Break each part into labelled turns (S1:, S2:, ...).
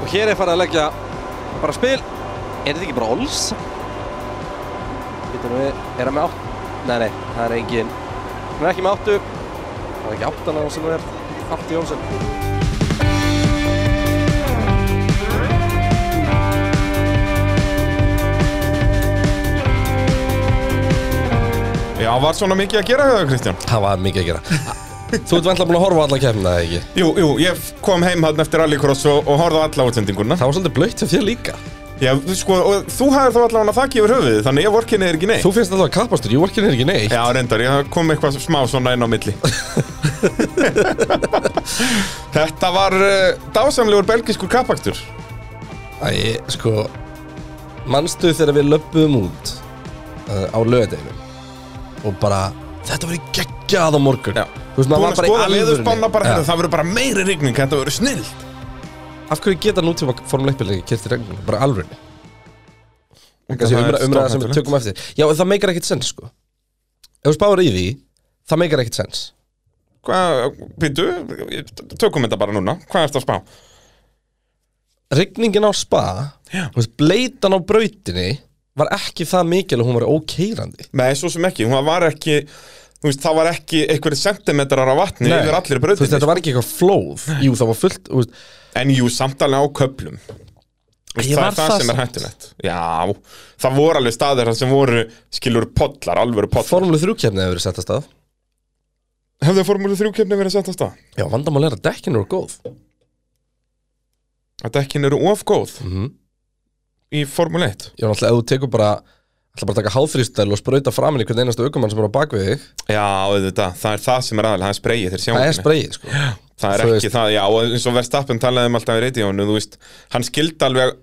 S1: Og hér er farið að leggja bara spil. Er þetta ekki bara alls? Býtum við, er hann með átt? Nei, nei, það er engin. Hann er ekki með áttu. Það er ekki áttan á sem það er. Afti Jónsson.
S2: Já, var svona mikið að gera hjá þau, Kristján?
S3: Það var mikið að gera. Þú ert vantilega búin að horfa á alla kemna, eða ekki?
S2: Jú, jú, ég kom heim hann eftir rallycross og, og horfði á alla útsendinguna.
S3: Það var svolítið blöytt fyrir þér líka.
S2: Já, sko, og þú hafðir þá allavega þakki yfir höfuðið, þannig ég vorkinni er ekki neitt.
S3: Þú finnst alltaf að kappastur, ég vorkin er ekki neitt.
S2: Já, reyndar, ég kom eitthvað smá svona inn á milli. Þetta var uh, dásamlegur belgiskur kappaktur.
S3: Æ, sko, mannstu þegar við löpum út uh, á lögadeginum og bara, þetta verið geggjað á morgun.
S2: Já.
S3: Þú veist, maður
S2: Búin
S3: var
S2: að
S3: bara í
S2: skoða
S3: alvörunni.
S2: veðurspanna bara,
S3: Já.
S2: hérna, það verður bara meiri rigning, þetta verður snill.
S3: Af hverju geta nútíma Formule 1 bílið kert í regnum? Bara alvörinni. Þessi
S2: Það er
S3: umræða, umræða sem við
S2: stórhættulegt.
S3: tökum eftir. Já, en það meikar ekkert sens, sko. Ef þú spáður í því, það meikar ekkert sens.
S2: Hvað, býtu, tökum þetta bara núna, hvað ertu að spá?
S3: Rigningin á spa,
S2: Já.
S3: þú veist, bleitan á brautinni var ekki það mikil að hún var ókeirandi.
S2: Nei, svo sem ekki, hún var ekki þú veist, það var ekki einhverjir sentimetrar af vatni
S3: Nei.
S2: yfir allir
S3: Þú veist,
S2: brautinni
S3: þetta var ekki eitthvað flóð. Jú, það var fullt, þú veist,
S2: en jú, samtalið á köplum Þú veist,
S3: Ég
S2: það
S3: var
S2: er
S3: það
S2: það sem er
S3: samt.
S2: hættulegt Já, það voru alveg staðir þar sem voru skilur pollar, alvöru pollar
S3: Formule 3 kefnið hefur verið sett að stað.
S2: Hefðu formúlu 3 kefni verið að setja stað?
S3: Já, vandamál er að dekkin eru góð.
S2: Að dekkin eru of góð
S3: Mhm.
S2: í formúlu 1
S3: Ég var náttúrulega, ef þú tekur bara, ætla bara að taka háþrýstæl og sprauta framin í hvern einasta aukumann sem er á bakvið þig,
S2: Já, auðvitað, það er það sem er aðal, það er spreyið þeir sjá
S3: það
S2: ekki
S3: er
S2: neitt.
S3: spreyið, sko.
S2: Það er
S3: Þú
S2: ekki það, já, og eins og Verstappen talaði um alltaf í reytíónu, þú veist, hann skildi alveg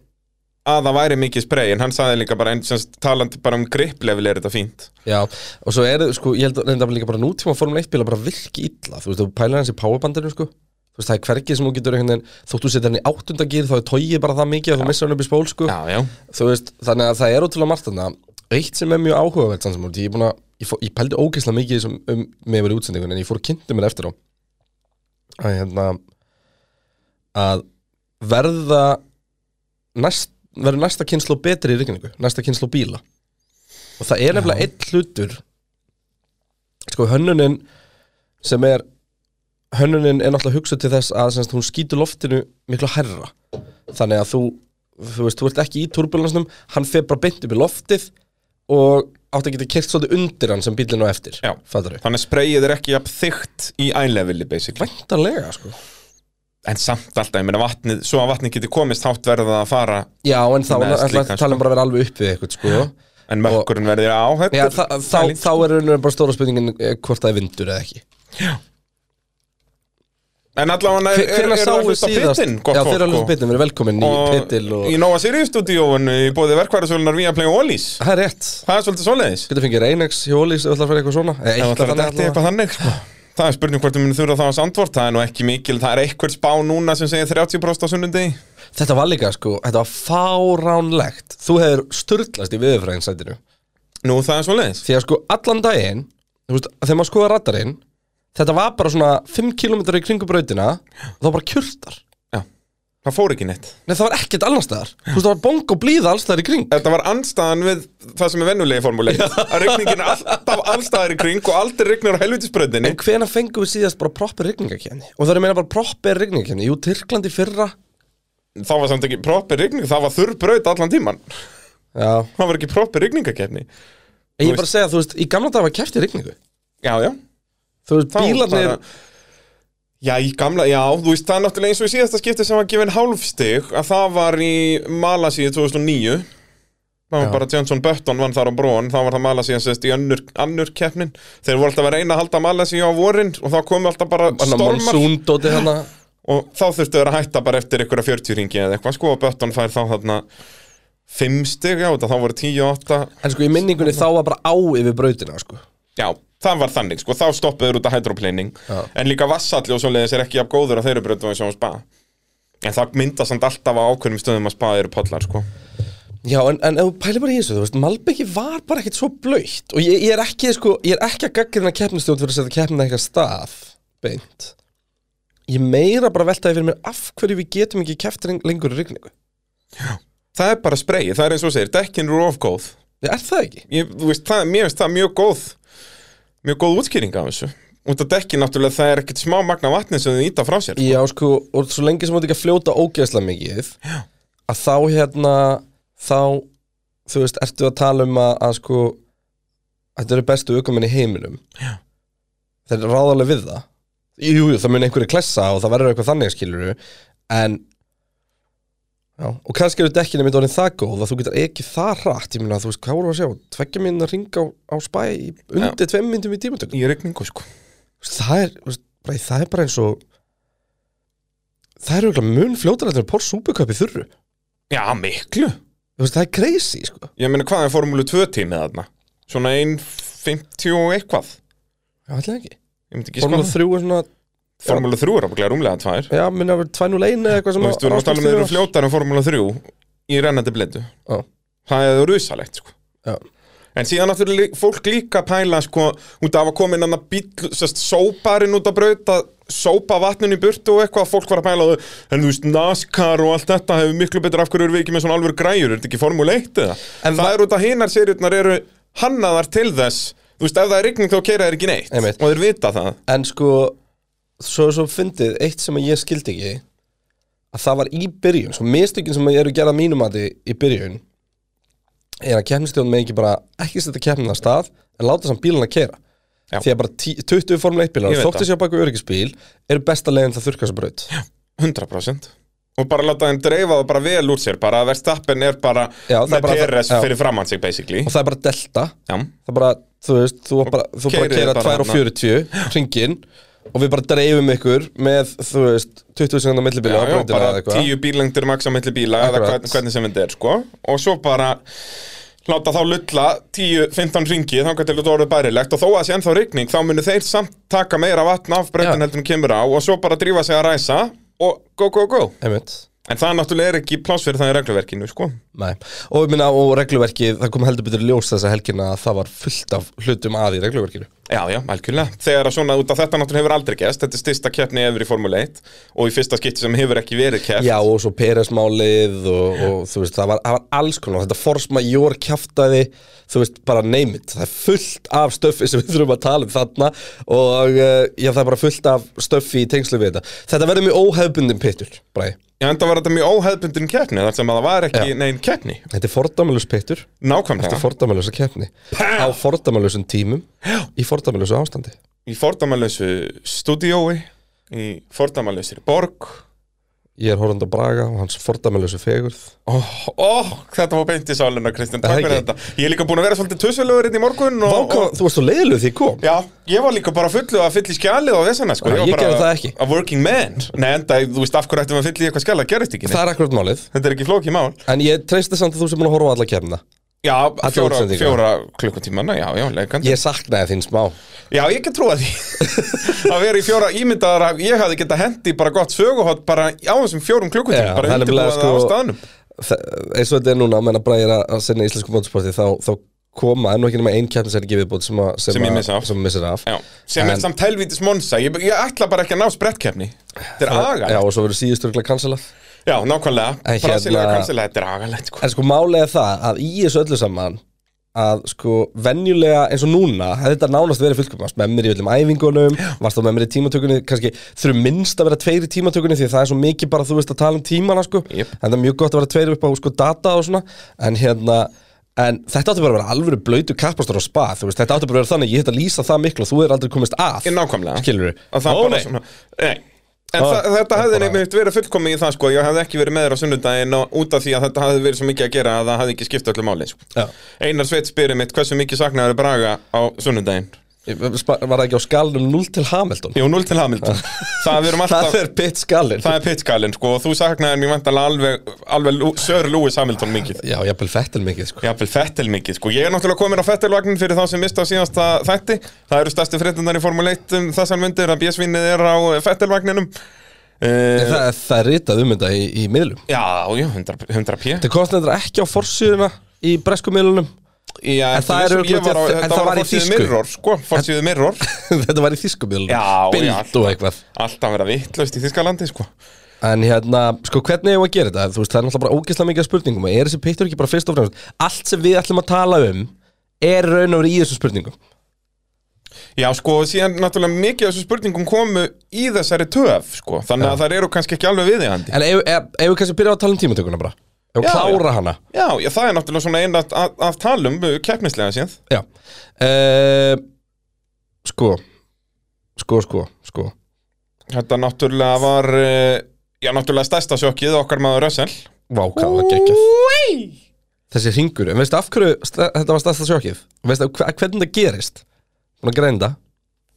S2: að það væri mikið sprey, en hann sagði líka bara, en sem sagt, talandi bara um griplevel er þetta fínt.
S3: Já, og svo er, sko, ég held að reynda líka bara nútíma Formule 1 bíla bara virki illa, þú veist, þú pælar hans í powerbandinu, sko. Þú veist, það er hvergi sem þú getur einhvern veginn, þótt þú setja hann í áttundagýr, þá er tóið bara það mikið að þú missar hann upp í spól, sko.
S2: Já, já.
S3: þú veist, þannig að það er ótrúlega margt þarna eitt sem er mjög áhugavert samt sem áður, ég er búin að, ég, fó, ég pældi ógeðslega mikið í þessum um með verið útsendingun en ég fór að kynntu mér eftir á að hérna að verða næst, verður næsta kynslu betri í rigningu, næsta kynslu bíla og það er nefnilega einn hlutur sko hönnunin sem er hönnunin er náttúrulega hugsuð til þess að semst, hún skýtur loftinu miklu herra þannig að þú, þú veist, þú ert ekki í turbulensnum hann fer bara beint upp í loftið og átt að geta kert svolítið undir hann sem bílinn á eftir
S2: Já.
S3: fattar við,
S2: Þannig spreyið er ekki jafn þygt í ælevili, basically.
S3: væntanlega sko
S2: En samt alltaf, ég meina vatnið, svo að vatnið geti komist hátt verða það að fara,
S3: já, en þá
S2: Með
S3: er
S2: slíkan,
S3: það tala um bara að vera alveg upp við eitthvað sko
S2: en mökkurinn verði á, þetta
S3: já, þá, þá, þá er raunverið bara stóra spurningin eh, hvort það sko- er vindur eða ekki
S2: En allavega er, er,
S3: hvernig
S2: er,
S3: sáu
S2: er það
S3: síðast
S2: pittin, gott
S3: já, þeir eru hlusta
S2: fólk.
S3: pittin, verið velkomin í
S2: og-
S3: pittil
S2: Og
S3: sko. og
S2: í Nova Sirius stúdíóinu í bóði verkværasölunar Viaplay og Ólís.
S3: það er rétt
S2: Það er svolítið svoleiðis.
S3: getur fengið Reynex hjá Ólís ef þú ætlar að fara í eitthvað svona Eða
S2: Ef það
S3: eitthvað
S2: er
S3: þannig allavega.
S2: dættið eitthvað þannig sko. Það er spurning hvort þú munir þurfa þá að sandvort Það er nú ekki mikil, það er eitthvað spá núna sem segir 30% á sunnundegi
S3: Þetta var líka sko, þetta var fáránlegt Þú hefur sturlast í viðurfræðinsætinu
S2: Nú það er svo leiðis
S3: Því að sko allan daginn Þú veist, þegar maður skoða radarinn Þetta var bara svona 5 km í kringu brautina og Það var bara kjurtar
S2: Já, það fór ekki neitt
S3: Nei, það var ekkert annars staðar Þú veist, það var bong og blíða alls staðar í kring
S2: Þetta var andstæðan við það sem er vennulegi formúleik Að regningin er alltaf allstæðar í kring og aldrei regnir á helvitisbröðinni
S3: En hvena fengum við síðast bara proper rigningakefni? Og það er að meina bara proper rigningakefni Jú, Tyrklandi fyrra
S2: Það var samt ekki proper regning, það var þurr bröð allan tíman
S3: Já
S2: Það var ekki proper regningakefni
S3: Ég er bara að segja, þú veist, í gamla dag var keft í rigningu
S2: Já, já
S3: Þú veist,
S2: þá
S3: bílarnir
S2: bara- Já, í gamla, já, þú veist, það er náttúrulega eins og í síðasta skipti sem var gefin hálfstig að það var í Malasíu 2009 það var
S3: Já.
S2: bara Johnson Button vann þar á brón þá var það Malasíu sérst í önnur, annur keppnin þeir voru alltaf að reyna að halda Malasíu á vorin og þá komu alltaf bara stormar
S3: Monsúndóti hana
S2: og þá þurftu þeir að hætta bara eftir einhverja 40 ringi eða eitthvað sko og Button fær þá þarna 5 stig, já, þetta þá voru 10 og 8
S3: En sko, í minningunni þá var bara á yfir brautina, sko
S2: Já, það var þannig, sko, þá stoppuður út af hydroplaning
S3: Já.
S2: En líka vassalli og svoleiðis er ekki jafn góður að þeir eru bröndum eins og á spa En það myndast samt alltaf á ákveðnum stöðum að spa eru pollar, sko
S3: Já, en, en ef þú pælir bara í þessu, þú veist, Malbeki var bara ekkert svo blöytt og ég, ég er ekki, sko, ég er ekki að gaggrina keppnistjótt fyrir að setja keppnina eitthvað stað beint ég meira bara veltaði fyrir mér af hverju við getum ekki keft lengur í rigningu
S2: Það er bara spreyið, það er eins og þú segir, dekkin eru of góð
S3: Ég er það ekki
S2: ég, þú veist, það, Mér finnst það mjög góð mjög góð útskýring af þessu út af dekkin náttúrulega það er ekkert smá magna vatni sem þau íta frá sér
S3: Já, sko, og svo lengi sem þú ert ekki að fljóta ógeðslega mikið Já. að þá hérna þá, þú veist, ertu að tala um að, að sko þetta eru bestu aukumenn í heiminum Já. þeir eru ráðalega við það Jú, jú, það mun einhverju klessa og það verður eitthvað þannig skilur en Já, og kannski eru dekkinu mitt orðin það góð að þú getur ekki það hratt, ég meina þú veist hvað voru að sjá, tveggja minn að ringa á, á spæ í- undir tveim myndum í tímatökum
S2: í regningu sko
S3: það er, þú veist, bara, það er bara eins og það er auðvitað mun fljótar að það er pór súpuköp í þurru Þú
S2: Já, miklu
S3: veist, það er crazy sko.
S2: Ég meina hvað er formúlu 2 tímið þarna svona 1.50 og eitthvað
S3: já, allir ekki
S2: Ég myndi ekki Sko-
S3: Formule
S2: skoða
S3: 3 er svona,
S2: Formúlu 3 er ábygglega rúmlega tvær
S3: já, minna verið 201 eða eitthvað
S2: Þú
S3: sem
S2: veist, við erum að tala um þeir eru fljótar en Formúlu 3 í rennandi blindu
S3: Já.
S2: Það er rusalegt sko
S3: Já.
S2: En síðan náttúrulega lí- fólk líka að pæla sko, út af að koma inn annað bíl sest, sóparinn út að brauta sópa vatninu í burtu og eitthvað fólk var að pæla þau, en þú veist, NASCAR og allt þetta hefur miklu betur af hverju eru við ekki með svona alveg græjur, er þetta ekki formúli 1 eða? En það er út að hinar seriurnar eru hannaðar til þess, þú veist, ef það er rigning þá keira þeir ekki neitt
S3: Einmitt.
S2: og þeir vita það
S3: en sko, svo, svo fyndið eitt sem að ég skildi ekki að það var í byrjun, svo mistökin sem að ég eru gerða mínum að í byrjun er að keppnistjóðan með ekki bara ekki setja keppnina að stað en láta samt bílana að keira
S2: Já.
S3: því að bara tí, 20 formuleitt
S2: Ég
S3: bílar
S2: veit
S3: þóttu sér baku öryggisbíl eru besta leiðin það þurrkast braut
S2: 100% og bara láta þeim dreifa það bara vel úr sér bara að Verstappen er bara
S3: Já, það er
S2: með
S3: bara-
S2: PRS
S3: já.
S2: fyrir framann sig basically
S3: og það er bara delta
S2: já,
S3: það er bara, þú veist, þú bara, þú bara
S2: keyrið
S3: keira
S2: bara
S3: 2 og
S2: þarna.
S3: 40 hringin og við bara dreifum ykkur með, þú veist, 20 sekundar millibíla
S2: já,
S3: á
S2: já,
S3: brautina
S2: bara
S3: eða eitthvað.
S2: tíu bílengdir maksa milli bíla eða
S3: Akkurat.
S2: hvern, hvernig sem þetta er sko og svo bara láta þá lulla 10-15 ringi þá til þetta orðið bærilegt og þó að sé ennþá rigning þá munu þeir samt taka meira vatn af breytin
S3: Já.
S2: heldur en kemur á og svo bara drífa sig að ræsa og go go go
S3: Einmitt.
S2: en það náttúrulega er ekki pláss fyrir það í regluverkinu sko
S3: Nei, og ég minna og regluverkið, það kom heldur betur í ljós þessa helgina að það var fullt af hlutum að í regluverkinu
S2: Já, já, algjörlega. Þegar að svona út af þetta náttúrulega hefur aldrei gæst, þetta er styrsta keppni yfir í Formule 1 og í fyrsta skipti sem hefur ekki verið keppn.
S3: Já, og svo Peresmálið og, og þú veist, það var, það var alls konar þetta forsma jór kjaftaði þú veist, bara name it, það er fullt af stöffi sem við þurfum að tala um þarna og uh, já, það er bara fullt af stöffi í tengslu við þetta. Þetta verður mjög óhefbundin pittur, bræði.
S2: Já, enda var þetta mjög óhefbundin keppni, þar sem að það var ekki
S3: Já.
S2: neinn keppni.
S3: Þetta er fordæmalus pittur
S2: Nákvæmlega.
S3: eftir fordæmalösa keppni á fordæmalusum tímum í fordæmalusu ástandi.
S2: í fordamalösu stúdiói, í fordamalösir borg.
S3: Ég er horfandi á Braga og hans fordæmalusu fegurð
S2: Ó, ó, Oh, þetta var beint í sáluna, Kristján,
S3: Það
S2: takk fyrir
S3: ekki.
S2: þetta. Ég er líka búin að vera svolítið tussulegur hérna í morgun og...
S3: Váka,
S2: og-
S3: þú varst svo leiðilegur því ég kom
S2: Já, ég var líka bara fullu að fylla í skjalið á þessana sko
S3: Já,
S2: var
S3: ég
S2: bara
S3: gerði það ekki.
S2: A working man Nei, enda, þú veist af hverju ættum við að fylla í eitthvað skjalið, það gerist ekki
S3: Það er akkurat málið
S2: Þetta er ekki flókið mál
S3: En ég treysti samt að þú sem búin að horfa á alla kemna
S2: Já, fjóra,
S3: útsendingar.
S2: fjóra klukkutímana, já, já, leikandi
S3: Ég saknaði þín smá
S2: Já, ég get trúa því Að vera í fjóra ímyndaðar að ég hafði getað hendi bara gott söguhótt bara á þessum fjórum klukkutíma
S3: Já,
S2: bara
S3: það er
S2: undirbúið
S3: nefnilega,
S2: sko... á
S3: sko-
S2: staðnum
S3: Þa- Eins og þetta er núna, menna bræðir að sinna íslensku mótorsporti þá, þá koma, en nú ekki nema ein kemna sem er ekki viðbútt sem, að-
S2: Sem ég
S3: að-
S2: missa af.
S3: sem missir af
S2: Já, sem
S3: En-
S2: er samt helvítis monsa ég, ég ætla bara ekki að ná sprettkeppni Þetta er
S3: Já,
S2: agalegt
S3: og svo verður síðustur ekki kansalað
S2: Já, nákvæmlega,
S3: En
S2: Brasilia
S3: hérna-
S2: kansilega, þetta er agalegt sko.
S3: En sko málið er það að í þessu öllu saman að sko venjulega eins og núna hefði þetta nánast verið fullkomast með mér í öllum æfingunum, varst þá með mér í tímatökunni kannski þurfum minnst að vera tveir í tímatökunni því það er svo mikið bara þú veist að tala um tímana sko
S2: Jep.
S3: en það er mjög gott að vera tveir upp á sko data og svona en hérna En þetta átti bara að vera alvöru blöytu kappastur á spa þú veist, Þetta átti bara að vera þannig, ég hef að lýsa það miklu og þú er aldrei komist að
S2: Ég nákvæmlega
S3: Skilur
S2: Að það bara svona Nei En
S3: Ó,
S2: það, þetta
S3: það
S2: hefði
S3: bara-
S2: nefnilegt verið fullkomið í það sko, ég hefði ekki verið með þér á sunnudaginn og út af því að þetta hefði verið svo mikið að gera að það hefði ekki skipt öllu máli sko.
S3: Já.
S2: Einar Sveit spyrir mitt hversu mikið saknaður Braga á sunnudaginn
S3: Var það ekki á skalunum 0 til Hamilton?
S2: Jú, 0 til Hamilton Það, við erum alltaf,
S3: Það er pitt skalin
S2: það er pittskalinn sko, og þú saknaður mér vantanlega alveg, alveg Lú- Sir Lewis Hamilton mikið
S3: Já, ég hafði fettil mikið sko.
S2: Jafnvel Fettel mikið sko, ég er náttúrulega komin á Fettelvagnin fyrir þá sem mista á síðasta þætti Það eru stærstu fréttunar í Formule 1 um þessar myndir að bjösvinnið er á Fettelvagninum uh,
S3: Það, það er ritað um þetta í, í miðlum
S2: Já, já, 100, 100 p
S3: Þetta kostið þetta ekki á forsýðuna í bresku miðlunum
S2: Já,
S3: En
S2: eftir
S3: það er
S2: sem ég
S3: örugglega-
S2: var á-
S3: en
S2: þetta
S3: það var í
S2: forsíðu
S3: þýsku.
S2: Mirror, sko, fórsíðu mirror
S3: Þetta var í þýskumiðlunum
S2: Já, já,
S3: Bild og eitthvað
S2: Alltaf vera vittlaust í Þískalandi, sko
S3: En hérna, sko, hvernig hefur að gera þetta? Þú veist, það er náttúrulega bara ógeðslega mikið af spurningum og er þessi pittur ekki bara fyrst og fremst Allt sem við ætlum að tala um er raun og verið í þessum spurningum
S2: Já, sko, síðan náttúrulega mikið af þessu spurningum komu í þessari töf, sko Þannig að þær eru kannski ekki alveg viðeigandi
S3: En ef ef- ef við kannski byrja á að tala um tímatökuna bara Ef við
S2: Já,
S3: klára hana
S2: Já, já, það er náttúrulega svona einn að, að, að tala um uh, keppnislega síðan
S3: Já uh, Sko Sko, sko, sko
S2: Þetta náttúrulega var, uh, já, náttúrulega stærsta sjokkið okkar maður Russell
S3: Vá, hvað það geggjað Þessi hringur, en veistu af hverju sta- þetta var stærsta sjokkið? Veistu af hva- hvernig það gerist? Búin að greinda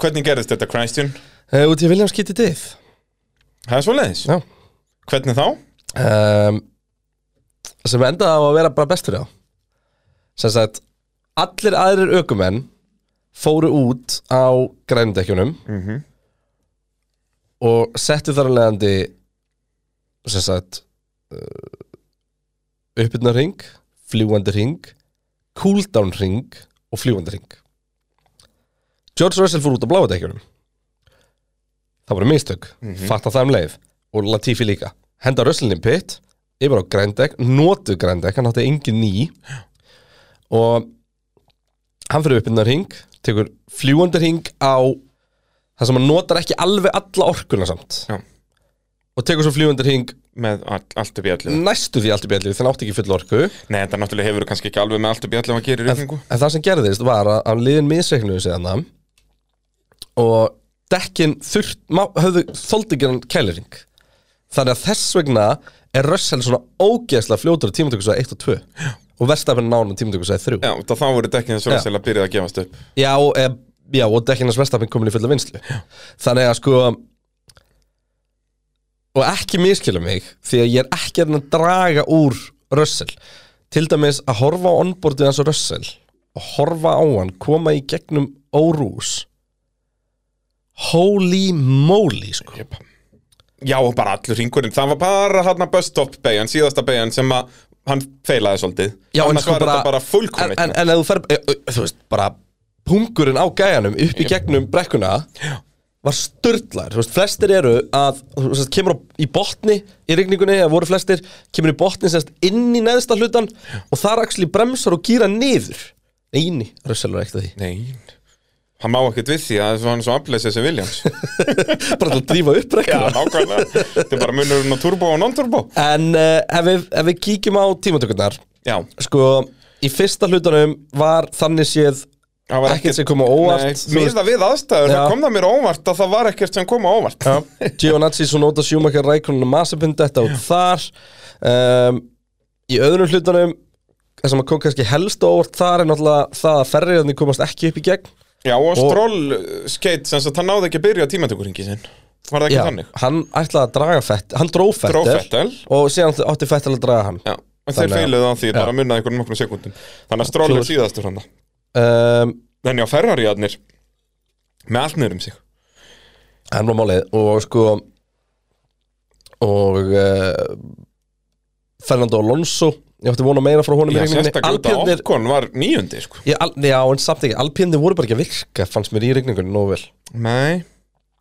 S2: Hvernig gerðist þetta, Christian?
S3: uh, Út í að Williams getið dið
S2: Það er svoleiðis
S3: Já
S2: Hvernig þá?
S3: um, sem endaði á að vera bara bestur á sem sagt allir aðrir ökumenn fóru út á grændekkjunum
S2: Mhm.
S3: og settu þar að leiðandi sem sagt uh, uppbyrna ring fljúandi ring cooldown ring og fljúandi ring George Russell fór út á bláa dekkjunum það voru mistök mm -hmm. fatta það um leið og Latifi líka henda Russellin í pitt yfir á grændekk, notu grændekk hann átti engin ný og hann fyrir uppinnar hring tekur fljúandi hring á það sem hann notar ekki alveg alla orkuna samt
S2: Já.
S3: og tekur svo fljúandi hring
S2: Með all, allt upp í allir
S3: næstu því allt í bjallið þannig átti ekki full orku
S2: Nei, þetta náttúrulega hefur þú kannski ekki alveg með allt upp í allir að gera í rýfingu
S3: En það sem gerðist var að, að liðin misreiknuðu sig þarna og dekkin þurft, má, höfðu þóldi ekki hann kæliring. Þannig að þess vegna er Russell svona ógeðslega fljótur á tímatökusæði 1 og 2 Já. og verstafinn nána tímatökusæði 3.
S2: Já, þá þá voru dekkin þessu
S3: Já.
S2: Russell að byrja að gefast upp
S3: Já, e, já og dekkinans verstafinn komin í fulla vinslu Þannig að sko Og ekki miskilum mig Því að ég er ekki að reyna að draga úr Russell Til dæmis að horfa á onboardið hans og Russell Og horfa á hann, koma í gegnum órús Holy moly sko
S2: Jöp. Já, og bara allur ringurinn Það var bara hann að bust-up beigjan, síðasta beigjan sem að hann feilaði svolítið
S3: Já, en
S2: Annars
S3: sko
S2: var
S3: bara,
S2: þetta bara
S3: en,
S2: fullkomleitt
S3: en, en ef þú fer, e, e, þú veist, bara Pungurinn á gæjanum upp í gegnum brekkuna Var störtlar Þú veist, flestir eru að þú veist, Kemur á- í botni í rigningunni Eða voru flestir, kemur í botni semst inn í neðsta hlutan Og þar axli bremsar og gýra niður Eini, rössalur ekkert að því
S2: Nei, hann má ekkert við því að það var hann svo afleysið sem Williams
S3: Bara til að drífa upp
S2: Já,
S3: brekkuna
S2: nákvæmlega Þetta er bara munurinn á turbo og non-turbo
S3: En uh, ef, við, ef við kíkjum á tímatökurnar
S2: Já,
S3: Sko, í fyrsta hlutanum var þannig séð
S2: það var
S3: Ekkert
S2: ekkert
S3: sem kom á óvart þú veist.
S2: Míða við aðstæður,
S3: Já.
S2: það kom það mér á óvart að það var ekkert sem kom á óvart
S3: Giovinazzi, Sonota, Schumacher, Rækonin og Mazepin þetta út þar um, í öðrum hlutunum það sem að kom kannski helst á óvart þar er náttúrulega það að ferriðarnir komast ekki upp í gegn
S2: Já, og Stroll skeitt sem sagt, hann náði ekki að byrja tímatökuringi sinn Var það ekki þannig?
S3: hann ætlaði að draga fett hann dró
S2: Dró
S3: fettir
S2: Vettel.
S3: og síðan átti fettil að draga hann
S2: Já, en þeir
S3: Þannig að-
S2: feiluðu á því
S3: Já.
S2: bara munnaði einhvern nokkrum sekundum Þannig að Stroll er
S3: Klúður.
S2: síðastur hann
S3: um,
S2: En já, Ferrariðarnir með allt niður um sig
S3: hann var málið og sko og uh, Fernando Alonso ég átti vona meira frá honum í
S2: Já,
S3: rigningunni.
S2: sérstaklega út að
S3: Alpínarnir-
S2: Okkon var nýjundi sko.
S3: Ég al- Já, en samt ekki, alpjöndir voru bara ekki að virka fannst mér í regningunni nógu vel
S2: Nei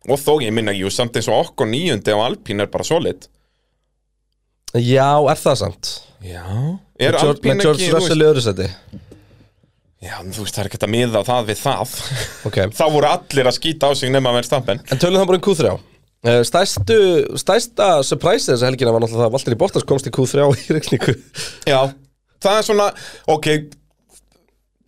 S2: Og þó ég minna, jú, samt eins og Okkon nýjundi á Alpín er bara solid
S3: Já, er það samt
S2: Já Er
S3: George- Með
S2: Alpín ekki,
S3: George
S2: þú
S3: Russell
S2: veist
S3: í öðru seti
S2: Já, en þú veist, það er ekkert að miða það við það
S3: Ok,
S2: Þá voru allir að skýta á sig nema verðstappen
S3: en tölum það bara um Q3 Eh, Stærstu, stærsta surprise þessa helgina var náttúrulega það að Valtteri Bottas komst í Q3 í regningu
S2: Já Það er svona, ok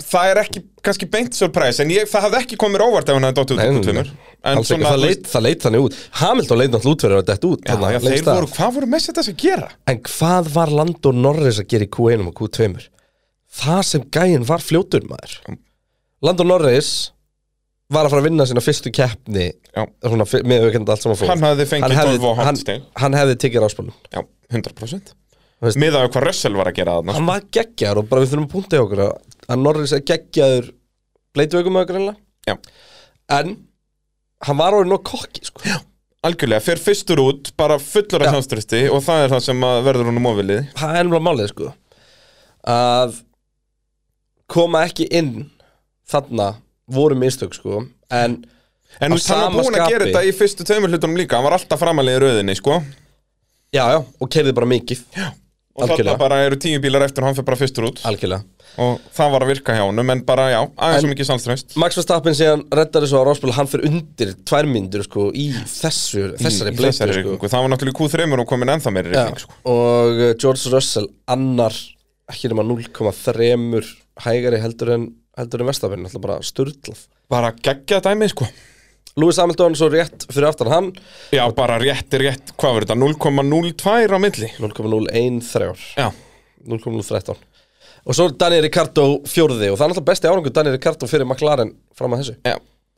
S2: Það er ekki, kannski beint surprise En ég, það hafði ekki komið mér á óvart ef hann hefði dottið út
S3: Nei,
S2: úr
S3: nei,
S2: kútumur
S3: nei. Alls ekki, það leit, það leit þannig út Hamilton leit náttúrulega út fyrir að detta út
S2: Já,
S3: þarna,
S2: já,
S3: lengst
S2: þeir
S3: af.
S2: voru, hvað voru mest þetta að gera?
S3: En hvað var Lando Norris að gera í Q1 og Q2? Það sem gæinn var fljótur maður Lando Norris var að fara að vinna sína fyrstu keppni
S2: Já.
S3: svona, fi- með aukenda allt saman fór
S2: Hann hafði fengið 12 og hálft
S3: hann,
S2: stig.
S3: hann hefði tekið ráspálun
S2: Já, 100%
S3: Veist-
S2: Miðað við hvað Russell var að gera þarna
S3: Hann var geggjaður og bara við þurfum að punta í okkur að að Norris er geggjaður bleitveikum okkur
S2: Já.
S3: einlega En hann var orðin og kokki sko.
S2: Algjörlega, fer fyrstur út, bara fullur af
S3: Já.
S2: samströsti Og það er það sem að verður honum ofilið
S3: Það er ennum málið sko. að koma ekki inn þarna voru mistök sko en
S2: En
S3: Að
S2: þú veist, hann var
S3: sama
S2: búin að gera
S3: skapi.
S2: þetta í fyrstu tveimur hlutunum líka Hann var alltaf framalegið rauðinni, sko
S3: já já og keirði bara mikið já,
S2: Og þarna
S3: algjörlega,
S2: bara eru tíu bílar eftir og hann fer bara fyrstur út
S3: algjörlega
S2: Og það var að virka hjá honum En bara, já, aðeins
S3: En-
S2: svo mikið sannstreist
S3: Max Verstappen síðan reddar þessu á Rosberg hann fyrir undir tvær myndur sko í þessu, þessari bleytu
S2: Þessari
S3: sko.
S2: rigningu, það var náttúrulega í Q3 og komin ennþá meiri
S3: Já,
S2: rigning sko.
S3: og uh, George Russell annar ekki nema 0,3 hægari heldur en heldur en Vestafinn, alltaf bara sturglað
S2: Bara geggja dæmi, sko
S3: Lewis Hamilton svo rétt fyrir aftan hann
S2: Já, bara rétt er rétt, hvað var þetta, 0,02 á milli
S3: 0,013
S2: Já,
S3: 0,013 og svo er Daniel Ricciardo fjórði og það er alltaf besti árangur Daniel Ricciardo fyrir McLaren fram að þessu
S2: já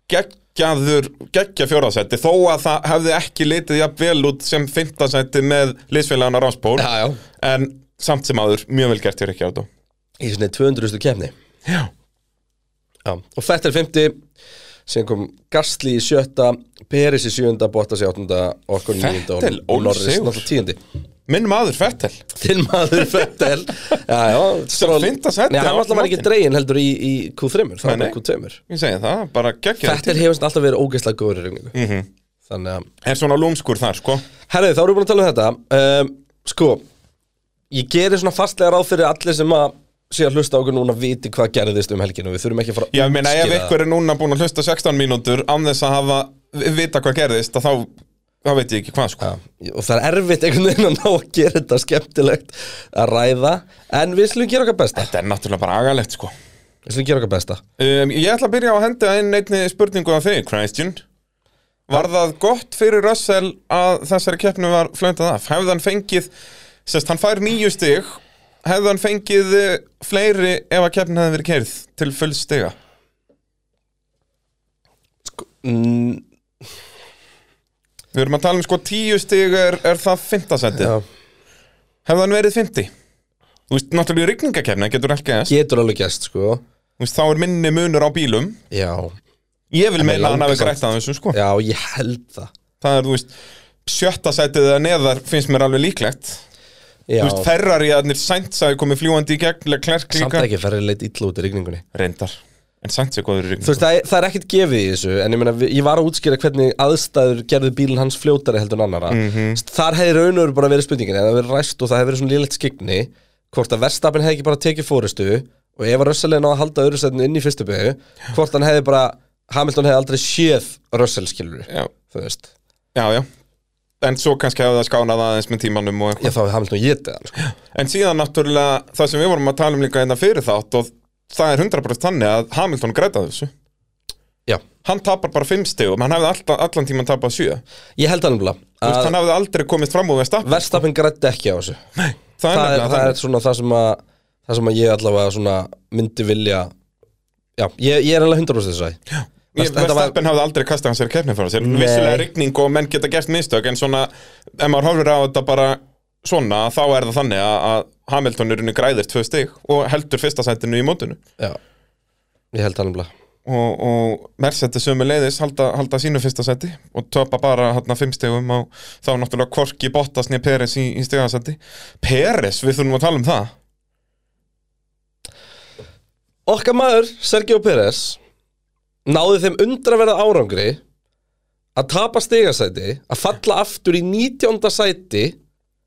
S2: Geggjaður, geggja fjórðasætti Þó að það hefði ekki litið jafn vel út sem fimmtasætti með liðsfélagana Ráspól
S3: já,
S2: En samt sem áður, mjög vel gert hjá Ríkjardó
S3: í svona 200. kefni
S2: Já
S3: já. og Fettel 50 síðan kom Gastli í sjötta Peris í sjöunda, Bottas í áttunda okkur nýjunda
S2: Vettel,
S3: og- og Norris
S2: ólsigur.
S3: náttúrulega tíundi
S2: Minn maður Fettel
S3: Þinn maður Fettel Já, já Stroll-
S2: fimmta sæti
S3: Nei, hann
S2: á
S3: alltaf var ekki
S2: mótinu.
S3: dregin heldur í, í Q3 Það var bara
S2: Nei, nei.
S3: Q2
S2: Ég segi það, bara geggjað
S3: Fettel hefur samt alltaf verið ógeðslega góður í ringingu
S2: Mhm.
S3: -hmm. Þannig að
S2: Er svona lúmskur þar, sko
S3: Herðu, þá erum við búin að tala um þetta um, Sko Ég gerir svona fastlega ráð fyrir allir sem að sé að hlusta á okkur núna viti hvað gerðist um helginu Við þurfum ekki að fara að
S2: Ég meina, ef
S3: útskýra það.
S2: ykkur er núna búin að hlusta 16 mínútur án þess að hafa, vita hvað gerðist að þá, þá veit ég ekki hvað, sko
S3: Já, og það er erfitt einhvern veginn að ná að gera þetta skemmtilegt að ræða en við slum gera okkar besta
S2: Þetta er náttúrulega bara agalegt, sko
S3: við slum gera okkar besta
S2: um, Ég ætla að byrja á að henda inn einni spurningu af þig, Christian Var það gott fyrir Russell að þessari keppnu var flöndað af? Hefði hann fengið, sérst, hann fær nýju stig Hefði hann fengið eh, fleiri ef að keppnu hefði verið keirð til full stiga?
S3: mm,
S2: Við erum að tala um sko tíu stig er, er það fintasendi
S3: Já
S2: Hefði hann verið finti? Þú veist, náttúrulega í rigningakefni getur ekki þess
S3: getur alveg gæst sko
S2: Þú veist, þá er minni munur á bílum
S3: já,
S2: Ég vil
S3: En
S2: meina að hann hafi
S3: langar
S2: grætt að þessu sko
S3: já, ég held það
S2: Það er, þú veist, sjötta sætið eða neðar finnst mér alveg líklegt
S3: já,
S2: Þú veist, Ferrari að nýr Sainz hafi komið fljúandi í gegn Leclerc
S3: samt
S2: líka
S3: ekki ferri leitt illa út í rigningunni
S2: Reyndar, en Sainz er góður
S3: þú
S2: í rigningu
S3: veist, það er, það er ekkert gefið í þessu en ég meina, við- ég var að útskýra hvernig aðstæður gerðu bílinn hans fljótari heldur en annara þar hefði raunur bara verið spurningin eða verið ræst og það hefði verið svona lélegt skikni hvort að verstapin hefði ekki bara tekið fórustu og ef að Russell hefði náð að halda öðru setinu inn í fyrstu byggu hvort hann hefði bara, Hamilton hefði aldrei séð Russell skilur
S2: Já,
S3: þú veist,
S2: já, já En svo kannski hefði það skánað aðeins með tímanum og eitthvað
S3: ég þá hefði Hamilton getið hann sko.
S2: En síðan náttúrulega það sem við vorum að tala um líka hérna fyrir þátt og það er 100% þannig að Hamilton grætaði þessu
S3: já,
S2: Hann tapar bara 5 stigum, hann hefði alltaf, allan tíman tapað 7 Þú
S3: ég held hann umla
S2: veist, hann hefði aldrei komist fram úr með stapp
S3: Verstapin grætti ekki á þessu það er,
S2: Það er
S3: það, er,
S2: nefnilega þannig
S3: svona það sem að það sem að ég allavega svona myndi vilja Já, ég, ég er alveg 100% þess að Já,
S2: Verst- Verstappen hafði aldrei kastað hans fyrir keppni frá sér
S3: Nei.
S2: Vissulega rigning og menn geta gert mistök En svona, ef maður horfir á þetta bara svona Þá er það þannig að, að Hamilton er unni græðir tvö stig Og heldur fyrsta sætinu í mótinu
S3: Já, ég held það alveg
S2: Og, og Mercedes sömu leiðis halda, halda sínu fyrsta sæti Og töpa bara hann fimm stigum á, Þá náttúrulega Korki Bottas nýja Peres í, í stigasæti Peres, við þurfum að tala um það
S3: Okkar maður, Sergio Pérez náði þeim undraverða árangri að tapa stigasæti að falla aftur í 19. sæti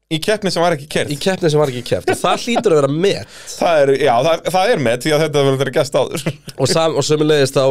S2: Í keppni sem var ekki kert
S3: í keppni sem var ekki keppt og það hlýtur að vera met
S2: Það er, já, það, það er með því að þetta verður gæst áður
S3: og, sam, og sömulegist þá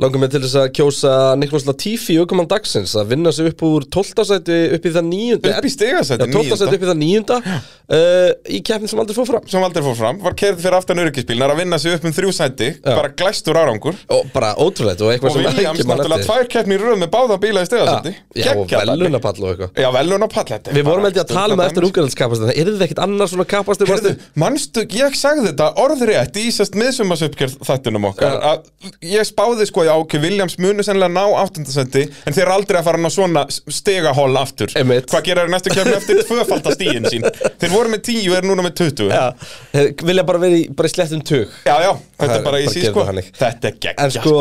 S3: langar mig til þess að kjósa Niklas Latifi aukumann dagsins að vinna sig upp úr 12. sæti upp í það 9.
S2: Upp í stigasæti,
S3: Já, 12. sæti upp í það 9. Uh, í keppni sem aldrei fór fram
S2: sem aldrei fór fram Var kerð fyrir aftan öryggisbílnar að vinna sig upp um þrjú sæti Bara glæstur árangur
S3: og bara ótrúlegt og eitthvað
S2: Og
S3: sem
S2: Williams
S3: ekki mann
S2: náttúrulega
S3: eftir
S2: tvær keppni í röð með báða bíla í stegasæti
S3: Já, og velunapall og eitthvað
S2: Já, velun og pall
S3: Við vorum held ég að tala um það eftir ungarlandskapastin Það yrði ekkit annar svona kapastin
S2: Hérðu, manstu, ég sagði þetta orðrétt í sérst miðsumasuppgjörð þættunum okkar að ég spáði sko, já, ok, Williams munu sennilega ná áttundasendi en þeir eru aldrei að fara ná svona stegahól aftur
S3: Einmitt.
S2: Hvað gera þeir næstu kemur eftir tvöfaldastíin sín Þeir voru voru með 10 og er núna með 20 Já,
S3: Já, eh, vilja bara verið í- bara í slettum tug
S2: já, þetta
S3: Það
S2: er bara
S3: bara
S2: í sí,
S3: gerum
S2: sko
S3: það þannig.
S2: Þetta er
S3: En
S2: geggjart
S3: sko,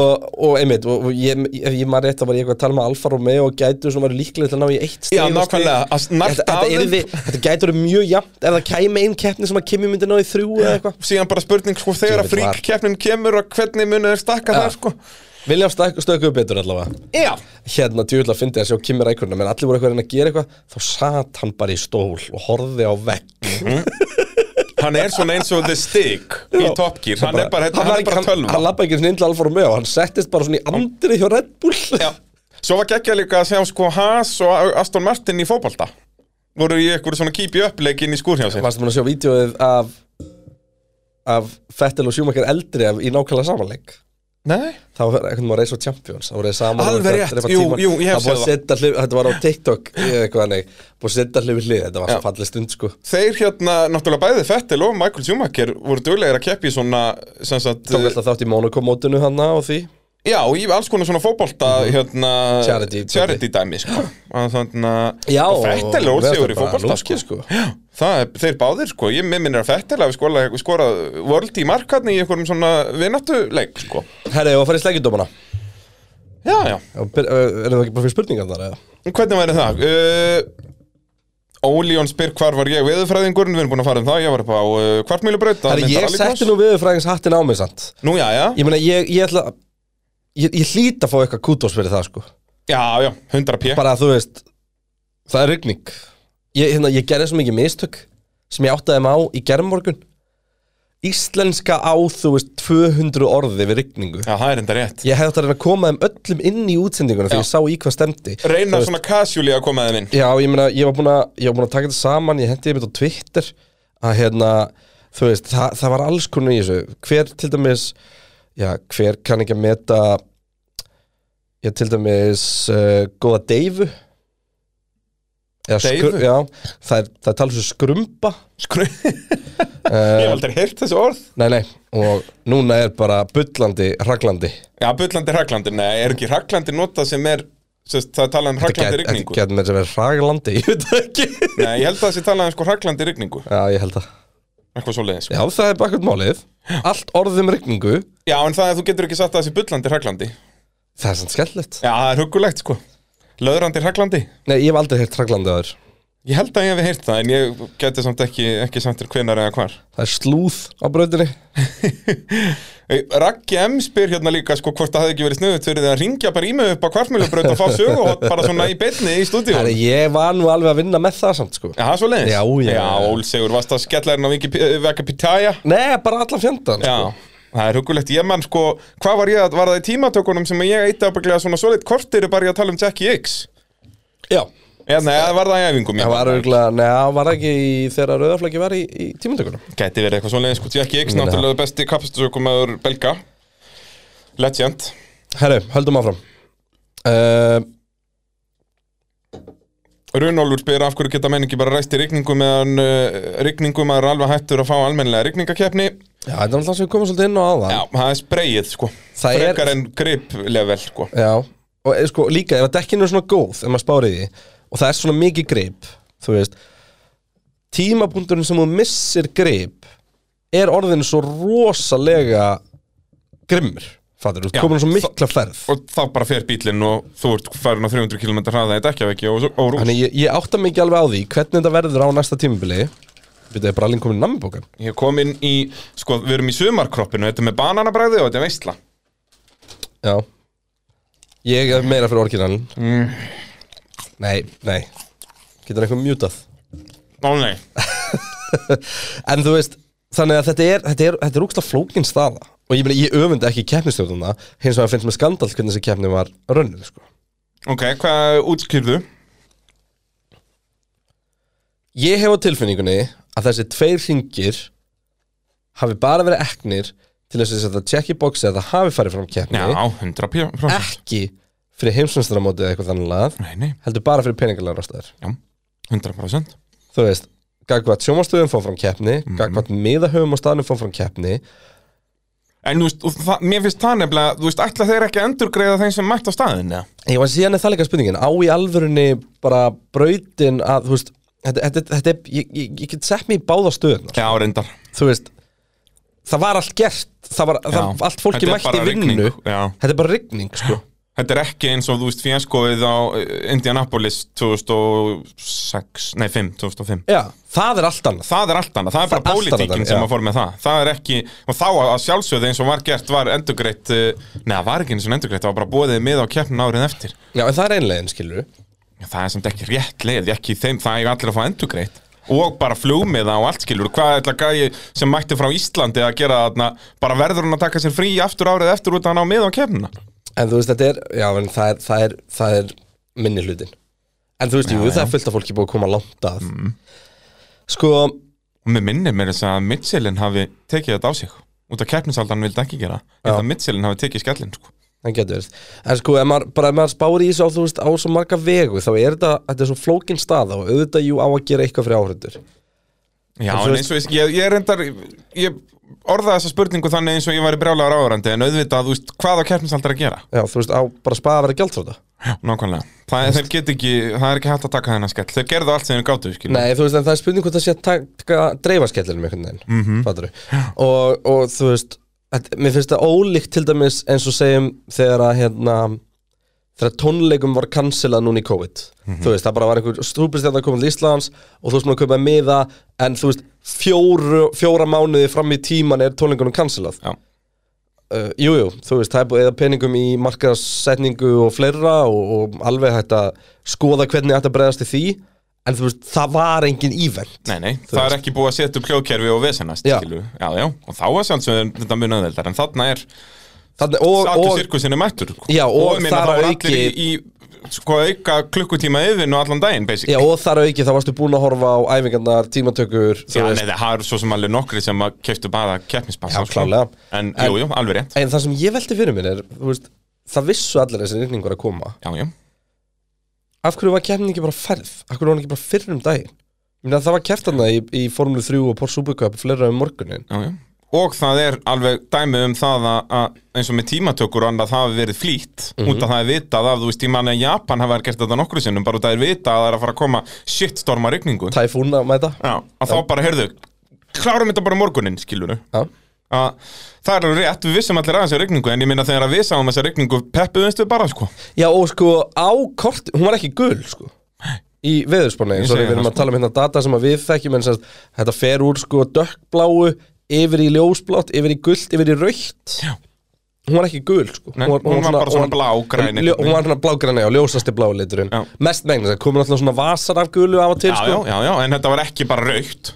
S3: og einmitt, og, og ég, ef ég maður rétt þá var ég eitthvað að tala með Alfa Romeo og gætu sem var líklega til að ná í eitt stig
S2: Já,
S3: og stig.
S2: nákvæmlega, að snart
S3: Þetta,
S2: af
S3: þetta,
S2: þeim.
S3: yrði- þetta gætur mjög jafnt ef það kæmi einn keppni sem að Kimi myndi ná í þrjú eða eitthvað
S2: Síðan bara spurning, sko, þegar að
S3: Djöfull var.
S2: fríkkeppnin kemur og hvernig munið er stakka
S3: Já.
S2: það, sko
S3: Vilja stökuðu betur allavega
S2: Já,
S3: hérna djúvill að fyndi að sjá Kimi Rækurna menn allir voru eitthvað að reyna að gera eitthvað þá sat hann bara í stól og horfði á vegg
S2: hann er svona eins og the stick í
S3: Já.
S2: Top Gear, hann er bara, þetta- hann
S3: var
S2: er bara
S3: hann,
S2: tölva
S3: hann lappa ekki einu sinni inn til Alfa Romeo hann settist bara svona í andrið hjá Red Bull
S2: Já. Svo var geggjað líka að sjá sko Haas og Aston Martin í fótbolta voru í eitthvað svona keep you up leik inn í skúr hjá sér
S3: varstu búin að sjá vídeoið af af Fettel og Schumacher eldri af, í nákvæmlega samanleik
S2: Nei
S3: þá var einhvern veginn að reysa á Champions þá voru þeir saman og þetta er
S2: Alveg rétt,
S3: eitthvað
S2: jú,
S3: tíma.
S2: jú, ég hef
S3: Það var búið
S2: séð
S3: að setja hlið- þetta var á TikTok eða eitthvað þannig búið að setja hlið við hlið þetta var
S2: Já.
S3: svo fallið stund sko
S2: Þeir hérna, náttúrulega bæði Fettel og Michael Schumacher voru duglegir að keppi svona sem sagt,
S3: tók alltaf þátt í Monaco mótinu hann og því
S2: já, í alls konar svona fótbolta hérna,
S3: Mhm. Charity-
S2: charity dæmi sko. Að þannig að
S3: Já,
S2: og Fettel
S3: og
S2: og Sigur
S3: þetta
S2: í
S3: bara
S2: fótbolta
S3: lúmskur, sko.
S2: Já, það er, þeir báðir sko, ég mér minnir að Fettel hafi skorað, skorað world í markarni í einhverjum svona vinatuleik sko.
S3: herri, og að fara í slækjudómana
S2: Já, já
S3: erum eh, það ekki bara fyrir spurningar þar eða?
S2: Hvernig væri það? Uh, Óljón spyr hvar var ég veðurfræðingurinn, við erum búin að fara um það, ég var upp á uh, kvartmýlubraut að
S3: Herri,
S2: mynda
S3: ég
S2: rallycross.
S3: setti nú viðurfræðings hattin á mig sant
S2: Nú, já, já,
S3: ég meina, ég, ég ætla að- ég, ég hlýt að fá eitthvað kútos fyrir það sko
S2: já, já, 100 p
S3: bara að þú veist það er rigning ég, hérna, ég gerði svo mikið mistök sem ég áttaði mig á í gerðmorgun íslenska á þú veist 200 orði við rigningu
S2: Já, það er enda rétt
S3: ég hefði átt að reyna að koma þeim öllum inn í útsendinguna þegar
S2: Já.
S3: ég sá í hvað stemdi Þú
S2: Reina
S3: veist,
S2: svona casually að koma þeim inn
S3: já ég meina ég var búin að, ég var búin að taka þetta saman ég hendi ég mitt á Twitter að hérna þú veist það, það var alls konar í þessu hver til dæmis já hver kann ekki að meta já til dæmis uh, góða Deyfu Eða
S2: Deyfu?
S3: skru- Já, það er, það er talað svo skrumpa
S2: Skru, sko. ég hef
S3: uh,
S2: aldrei heyrt þessu orð
S3: Nei, nei, og núna er bara bullandi, raglandi
S2: Já, bullandi hraklandi, nei, er ekki hraklandi nota sem er sest, Það er talað um hraklandi rigningu
S3: Gæti með sem er raglandi, ég veit það ekki
S2: Nei, ég held að það sé talað um sko hraklandi rigningu
S3: Já, ég held það
S2: Eitthvað sko. svo leiðis
S3: Já, það er bakkvæmt málið Allt orðum rigningu
S2: Já, en það að þú getur ekki sagt að það sé bullandi hraklandi Já,
S3: Það er sann skellilegt
S2: það er huggulegt sko Löðrandi hraklandi
S3: Nei, ég hef aldrei heyrt traglandi aður
S2: Ég held að ég hef heyrt það, en ég geti samt ekki, ekki samt þér hvenar eða hvar.
S3: Það er slúð á brautinni
S2: Raggi M spyr hérna líka sko hvort það hefði ekki verið snuðut fyrir það að ringja bara í mig upp á kvartmjölubraut og fá söguhótt bara svona í beinni í stúdíu.
S3: Herri, ég var nú alveg að vinna með það samt sko
S2: Já, það er svo leiðis.
S3: Já, já,
S2: Já,
S3: já.
S2: Ólsegur, varst að skella hérna á Wikipedia?
S3: Nei, bara allan fjandan
S2: Já.
S3: sko.
S2: Það er hugulegt, ég mann sko, hvað var ég að, var það í tímatökunum sem ég eitt ábygglega svona svoleitt kortir bara ég að tala um Jackie X?
S3: Já
S2: Já, nei, það var það í æfingum,
S3: Það
S2: ég
S3: var örgulega, neða, var það ekki í, þegar rauðaflæki var í, í tímundökunum
S2: Gæti verið eitthvað svoleiðis, sko, Jackie X,
S3: Nei, nei.
S2: náttúrulega besti kapastusökumæður Belga, legend.
S3: Herru, höldum áfram uh,
S2: Runólfur spyr af hverju geta menn ekki bara ræst í rigningu meðan uh, rigningum er alveg hættur að fá almennilega rigningakeppni
S3: Já, þetta er alltaf sem við komum svolítið inn á aðan
S2: Já, það er spreyið sko
S3: Það er-
S2: Frekar en griplevel sko
S3: Já, og eh, sko líka ef að dekkinu er svona góð, ef maður spárið því og það er svona mikið grip, þú veist tímapunkturinn sem þú missir grip er orðin svo rosalega grimmur, fattur, þú
S2: Já,
S3: ert komin á svo mikla ferð
S2: Og þá bara fer bílinn og þú ert farin á 300 km hraða í dekkjaveggi og, og rúst
S3: Þannig ég, ég átta mig ekki alveg á því hvernig þetta verður á næsta tímabili Býttu, er bara alveg komin í namibókan
S2: Ég kom inn í, sko, við erum í sumarkroppinu Þetta er með bananabræði og þetta er veistla
S3: Já Ég er meira fyrir orginalin mm. Nei, nei Getur eitthvað mjútað
S2: Ó nei,
S3: En þú veist, þannig að þetta er Þetta er, þetta er úkst að flókin staða Og ég meina, ég öfundi ekki keppnistjóðuna Hins vegar finnst mér skandal hvernig þessi keppni var rönnur sko.
S2: ok, hvað útskýrðu?
S3: Ég hef á tilfinningunni að þessi tveir ringir Hafi bara verið eknir Til þess að þetta check í boxi að það hafi farið fram keppni
S2: Já, 100 pjá
S3: ekki fyrir heimsumstæðamótið eða eitthvað þannig lagað
S2: Nei, nei,
S3: heldur bara fyrir peningalega ástæður
S2: já, 100%
S3: þú veist, gagvart sjómastöðum fór fram keppni mm. gagvart miðahöfum á staðnum fór fram keppni
S2: En þú veist, og það, mér finnst það nefnilega, þú veist, ætla þeir ekki að endurgreiða þeim sem mætt á staðin, eða?
S3: ég var síðan er það líka spurningin á í alvörunni bara brautin að þú veist þetta, þetta, þetta er, ég, ég, ég get sett mig í báða stöðunar
S2: Já, reyndar
S3: þú veist það var allt gert það var, það,
S2: Já.
S3: allt fólki
S2: Þetta er
S3: mætti
S2: bara
S3: í vinnu
S2: rigning, já.
S3: þetta er bara rigning sko.
S2: Þetta er ekki eins og þú veist fjaskoið á eh, Indianapolis 2006, nei 5, 2005
S3: já, það er allt annað
S2: Það er allt annað, það er
S3: Það er allt
S2: bara
S3: annað,
S2: pólitíkin sem
S3: já.
S2: að fór með það Það er ekki, og þá að sjálfsögðu eins og var gert var endugreitt Nei, það var ekki eins og endugreitt, það var bara bóðið mið á keppnin árið eftir
S3: já, en það er einlegin skilur
S2: Það er samt ekki rétt leið, ekki í þeim, það er allir að fá endugreitt Og bara flugmiða og allt skilur Hvað er þetta gæi sem mætti frá Íslandi að gera þarna Bara verður hann að taka sér frí aftur árið eftir út að hann á mið á keppnina
S3: en þú veist þetta er, já, en það er, það er, það er minni hlutin en þú veist, jú, það er fullt af fólki búið að koma langt að
S2: Mm.
S3: sko,
S2: Og mér minnir mér þess að Mitchellin hafi tekið þetta á sig Út af keppnisaldan vildi ekki gera Ég held að Mitchellin hafi tekið skellin sko.
S3: það getur verið en sko, ef maður, bara ef maður spáir í þessu á, þú veist, á svo marga vegu, þá er þetta þetta er svo flókin stað og auðvitað jú á að gera eitthvað fyrir áhrindur
S2: Já,
S3: En þú
S2: en
S3: veist-
S2: eins og ég, ég, ég reyndar Ég orðaði þessa spurningu þannig eins og ég væri brjálega ráðurandi En auðvitað, þú veist, hvað á keppnisaldar að gera?
S3: já, þú veist, á bara spa að vera gjaldþróta
S2: Já, nákvæmlega Það, þeir get ekki, það er ekki hægt að taka þennan skell Þeir gerðu allt sem þeir gátu, skilur
S3: Nei, þú veist, en það er spurning hvort það sé að taka dreifaskellinum einhvern veginn, mm -hmm. og, og þú veist, þetta, mér finnst það ólíkt til dæmis eins og segjum þegar að hérna, þegar tónleikum var cancelað núna í COVID þú veist, það bara var einhver stúpistjænd að koma til Íslands og þú veist, maður að kaupa miða en þú veist, fjóru, fjóra mánuði fram í tíman er tónleikunum cancelað
S2: Já.
S3: Uh, jú, jú, þú veist, það er búið eða peningum í markasetningu og fleira og, og alveg hægt að skoða hvernig þetta bregðast í því en þú veist, það var engin event
S2: Nei, nei, það er ekki búið að setja upp hljóðkerfi og vesenast,
S3: Já.
S2: skilur Já, já, og þá var sjálfsögðum þetta mun auðveldar En þarna er
S3: Þannig, og,
S2: Sakur
S3: og,
S2: sirkusinn er mættur sko.
S3: Já, og
S2: ég meina,
S3: þar
S2: það var
S3: að
S2: allir í, í sko, auka klukkutíma yfir og allan daginn basic.
S3: já, og þar að auki þá varstu búin að horfa á æfingarnar, tímatökur þú
S2: Já,
S3: veist.
S2: nei, það er svo sem alveg nokkri sem að keftu bara keppnispassa
S3: Já, klárlega.
S2: En,
S3: En-
S2: jú, jú, alveg rétt
S3: En það sem ég velti fyrir mér er, þú veist, það vissu allir þessi reyningur að koma
S2: Já, já,
S3: Af hverju var keppnin ekki bara ferð? Af hverju var hann ekki bara fyrr um daginn? Ég meina, það var keftarna í, í Formule 3 og Porsche Supercup og fleira um morgunin
S2: já, já Og það er alveg dæmi um það að, að eins og með tímatökur og annað það hafi verið flýtt
S3: Mhm.
S2: út af það er vitað að, þú veist, ég manni að Japan hafa gert þetta nokkru sinnum bara út af það er vitað að það er að fara að koma shitstorma rigningu
S3: Typhoon að mæta
S2: Já, að þá bara, heyrðu, klárum þetta bara á morguninn, skilur
S3: Já,
S2: að það er alveg rétt, við vissum allir aðeins á regningu en ég minna þegar að við sáum þessa regningu peppuðumst við bara sko
S3: Já og sko á kort, hún var ekki gul sko Í veðurspána,
S2: Ég
S3: eins og
S2: segi
S3: við erum
S2: það, sko.
S3: að tala um hérna data sem að við þekkjum en sem sagt, þetta fer úr sko dökkbláu yfir í ljósblátt, yfir í gult, yfir í rautt
S2: Já.
S3: Hún var ekki gul sko
S2: Nei, hún var bara svona blágræn
S3: ljó,
S2: einhvern
S3: Hún var svona blágræni og ljósasti blái liturinn
S2: Já.
S3: Mest megnis, það komur alltaf svona vasar af gulu af og til
S2: já, já,
S3: sko
S2: já, já, en þetta var ekki bara raukt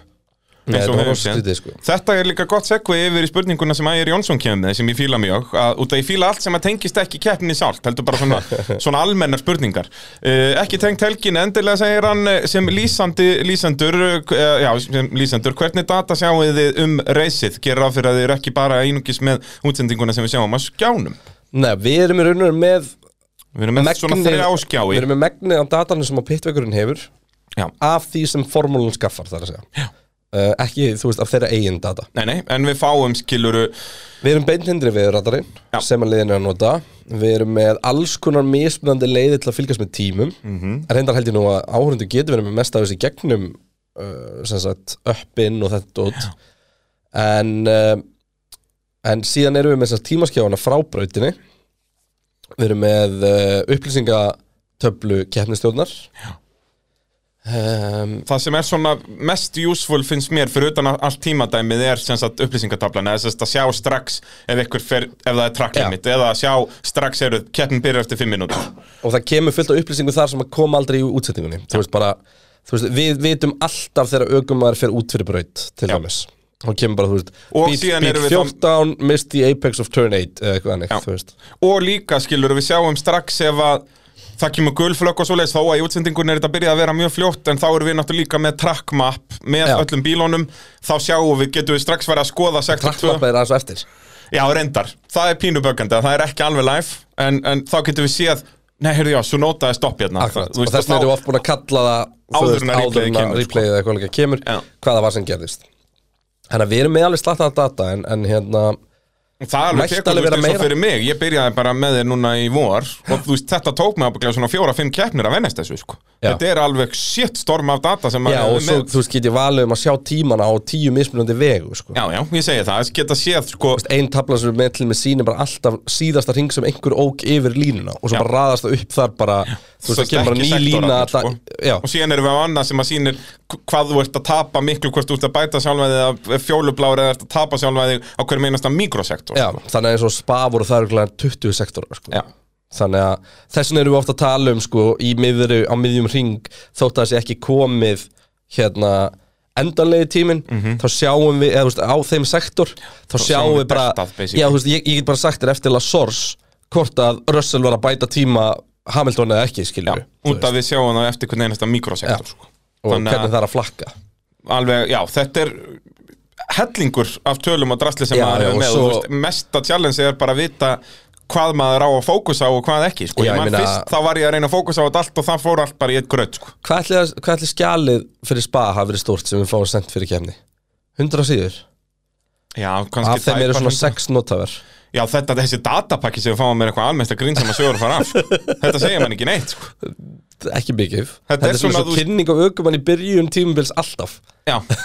S3: Nei,
S2: eins og
S3: þetta
S2: við
S3: var
S2: höfum séð.
S3: skrítið, sko.
S2: Þetta er líka gott segvið yfir í spurninguna sem Ægir Jónsson kemur með sem ég fíla mjög, að, út að ég fíla allt sem að tengist ekki keppni sált, heldur bara svona, svona almennar spurningar uh, ekki tengt helgin endilega segir hann eh, sem lýsandi, lýsandur uh, já, sem lýsandur, hvernig data sjáið þið um reysið, gerir ráð fyrir að þið eru ekki bara einungis með útsendinguna sem við sjáum á skjánum
S3: Nei, við erum í raunum með
S2: Við erum með svona
S3: megnið-
S2: þrjá skjái
S3: Við erum með megnið af datanum sem að pitvegurinn hefur
S2: Já.
S3: Af því sem formúlan skaffar þar að segja uh, Ekki, þú veist, af þeirra eigin data
S2: Nei, nei, en við fáum skiluru
S3: Við erum beintindri við radarinn
S2: Já.
S3: sem að liðin er að nota Við erum með alls konar mismunandi leiði til að fylgjast með tímum mm -hmm. Reyndar held ég nú að áhörundu getur verið með mest af þessi gegnum uh, sem sagt uppin og þetta út en, uh, en síðan erum við með þessar tímaskjáfana frá brautinni Við erum með uh, upplýsingatöflu keppnistjórnar um,
S2: Það sem er svona mest useful finnst mér fyrir utan að allt tímadæmið er sem sagt upplýsingatablan eða sem sagt að sjá strax ef ykkur fer, ef það er track
S3: Já.
S2: limit eða að sjá strax eru keppin byrjar eftir 5 mínútur
S3: og það kemur fullt af upplýsingu þar sem að koma aldrei í útsetningunni þú veist bara, þú veist, við vitum alltaf þegar ögumar fer út fyrir braut til
S2: Já.
S3: dæmis og kemur bara, þú veist,
S2: Og
S3: beat,
S2: síðan
S3: beat
S2: erum við
S3: 14 missed the apex of turn 8 eða eitthvað annir,
S2: Já.
S3: þú veist
S2: Og líka skiluru við sjáum strax ef að það kemur gulflögg og svoleiðis þó að í útsendingun er þetta byrjað að vera mjög fljótt en þá erum við náttúrulega líka með track map með
S3: Já.
S2: öllum bílunum þá sjáum við, getum við strax verið að skoða sektor 2.
S3: trakkmappa er aðeins á eftir
S2: Já, reyndar, það er pínuböggandi að það er ekki alveg live en, en þá getum við séð Nei, heyrðu, já, svo nótaði stopp hérna
S3: Akkurat,
S2: Þú
S3: og
S2: veist,
S3: þess
S2: þá-
S3: vegna erum við oft búin að kalla það þú
S2: Áður
S3: veist, áður en að
S2: en að replayið kemur, sko.
S3: replayið eða eitthvað líka kemur
S2: Já.
S3: hvað það var sem gerðist Þannig að við erum með alveg slattaða data en, en hérna
S2: Það alveg
S3: Mætti
S2: tekur, þú
S3: alveg
S2: veist,
S3: vera
S2: eins og
S3: meira.
S2: fyrir mig, ég byrjaði bara með þér núna í vor og þú veist, þetta tók mig ábygglega svona fjóra-fimm keppnir að vennast þessu, sko.
S3: Já.
S2: Þetta er alveg shit storm af data sem
S3: Já,
S2: maður
S3: og
S2: er
S3: svo,
S2: með.
S3: þú veist, get ég valið um að sjá tímana á tíu mismunandi vegu, sko.
S2: Já, já, ég segi það, þess geta séð, sko,
S3: Þú veist, Ein tabla sem við með til með sýnir bara alltaf síðasta ring sem einhver ók yfir línuna og svo
S2: Já.
S3: bara raðast það upp þar bara, þú veist,
S2: svo
S3: það kemur bara
S2: ekki
S3: ný
S2: sektorarnir,
S3: lína
S2: sko.
S3: þetta- Já,
S2: og síðan erum við á annað sem að sýnir hvað þú ert að tapa miklu, hvort þú ert að bæta sjálfæði eða fjólublári eða ert að tapa sjálfæði á hverjum einasta mikrosektor.
S3: já, þannig að eins og spa voru það örugglega 20 sektorar, sko.
S2: Já.
S3: Þannig að þessin erum við ofta að tala um, sko, í miðri, á miðjum ring, þótt að þessi ekki komið, hérna, endanlegi tíminn, þá sjáum við, eða, þú veist, á þeim sektor, þá sjáum
S2: Mhm. sjáum
S3: við
S2: við
S3: bara,
S2: beltað, basically.
S3: já, þú veist, ég, ég get bara sagt þér eftir La Source, hvort að Russell var að bæta tíma Hamilton eða ekki, skiljum við. Þú
S2: Út af við sjáum það eftir hvern einasta mikrosektor,
S3: Já.
S2: sko.
S3: og
S2: Þannig að-
S3: hvernig það er að flakka
S2: alveg, já, þetta er hellingur af tölum og drasli sem
S3: Já,
S2: maður
S3: já,
S2: hefur
S3: og
S2: með
S3: svo-
S2: svo... veist, mesta challenge er bara að vita hvað maður á að fókusa á og hvað ekki sko.
S3: Já,
S2: ég
S3: ég
S2: man
S3: meina-
S2: fyrst, þá var ég að reyna að fókusa á þetta allt og það fór allt bara í eitt gröð sko.
S3: Hvað ætli, hvað ætli skjalið fyrir spa hafi verið stórt sem við fáum sendt fyrir kemni? 100 síður
S2: já, kannski
S3: Af þeim eru
S2: tæpar
S3: svona
S2: hundrað.
S3: 6 notaver
S2: já, þetta, þessi datapakki sem við fáum er eitthvað almennsta grín sem að sögur fara af sko. þetta segir mann ekki neitt sko.
S3: Ekki mikið
S2: Þetta
S3: Þetta
S2: er
S3: er svona
S2: svona
S3: svo
S2: þú-
S3: kynning á aukumann í byrjun tímubils alltaf
S2: já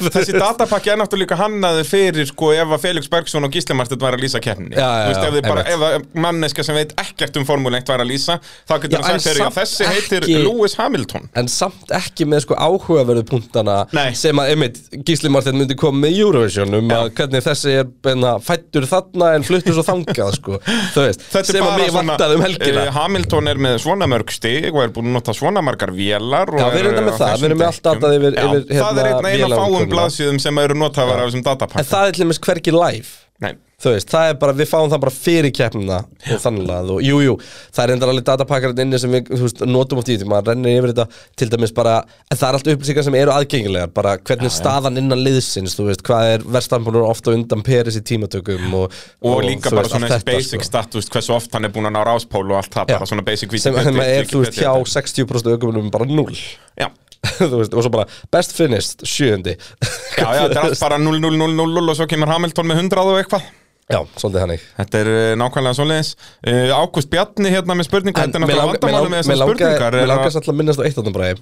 S2: Þessi datapakki er náttúrulega líka hannaði fyrir sko, ef að Felix Bergson og Gísli Marstedt væri að lýsa keppninni
S3: Já, já,
S2: Þú
S3: já,
S2: veist, ef, þið bara,
S3: einmitt.
S2: ef að manneska sem veit ekkert um formúleikt væri að lýsa þá
S3: Já,
S2: getur
S3: en
S2: hann sagt þeirri
S3: samt
S2: þessi heitir
S3: ekki-
S2: Lewis Hamilton
S3: En samt ekki með sko áhugaverðu punktana
S2: Nei.
S3: sem að, einmitt, Gísli Martin myndi koma með í Eurovision um að hvernig þessi er benna, fættur þarna en fluttur svo þangað sko, þú veist,
S2: Þetta
S3: sem
S2: er
S3: að
S2: bara
S3: mig vantaði um helgina
S2: eh, Hamilton er með svona mörg stig og er búin að nota svona margar vélar og
S3: Já, við erum
S2: er
S3: þetta
S2: eh,
S3: með
S2: á
S3: það,
S2: þessum
S3: við erum með allt
S2: dekkjum.
S3: datað yfir-
S2: Já,
S3: yfir,
S2: Það er
S3: hérna,
S2: einn eina fáum
S3: vélaumkunina.
S2: blaðsíðum sem eru notafar af þessum
S3: En
S2: datapakka
S3: það er til dæmis hvergi live
S2: Nei,
S3: Þú veist, það er bara, við fáum það bara fyrir keppnina og þannig að, og jú, jú, það er endar alveg datapakkarinn inni sem við, þú veist, notum á tíu maður rennir yfir þetta, til dæmis bara en það er allt upplýsingar sem eru aðgengilegar bara hvernig staðan innan liðsins, þú veist hvað er verstanbúinur ofta undan Peris í tímatökum og,
S2: og, líka
S3: þú
S2: bara
S3: veist,
S2: svona
S3: allt
S2: þessi basic
S3: sko.
S2: status hversu oft hann er búin að ná ráspól og allt
S3: Já.
S2: það bara svona basic
S3: sem,
S2: vítabeti-
S3: sem er, þú veist,
S2: vítabeti-
S3: hjá 60% aukumunum bara 0
S2: Já,
S3: þú veist, og svo bara best finished, sjöundi
S2: já, já, þetta er allt bara 0, 0, 0, 0, 0 og svo kemur Hamilton með 100 og eitthvað
S3: Já, svolítið hannig
S2: Þetta er eh, nákvæmlega svoleiðis uh, Ágúst Bjarni hérna með spurningar Þetta er náttúrulega vandamálum með þessar spurningar
S3: Mér
S2: er að-
S3: langast alltaf að minnast á eitt andan bræði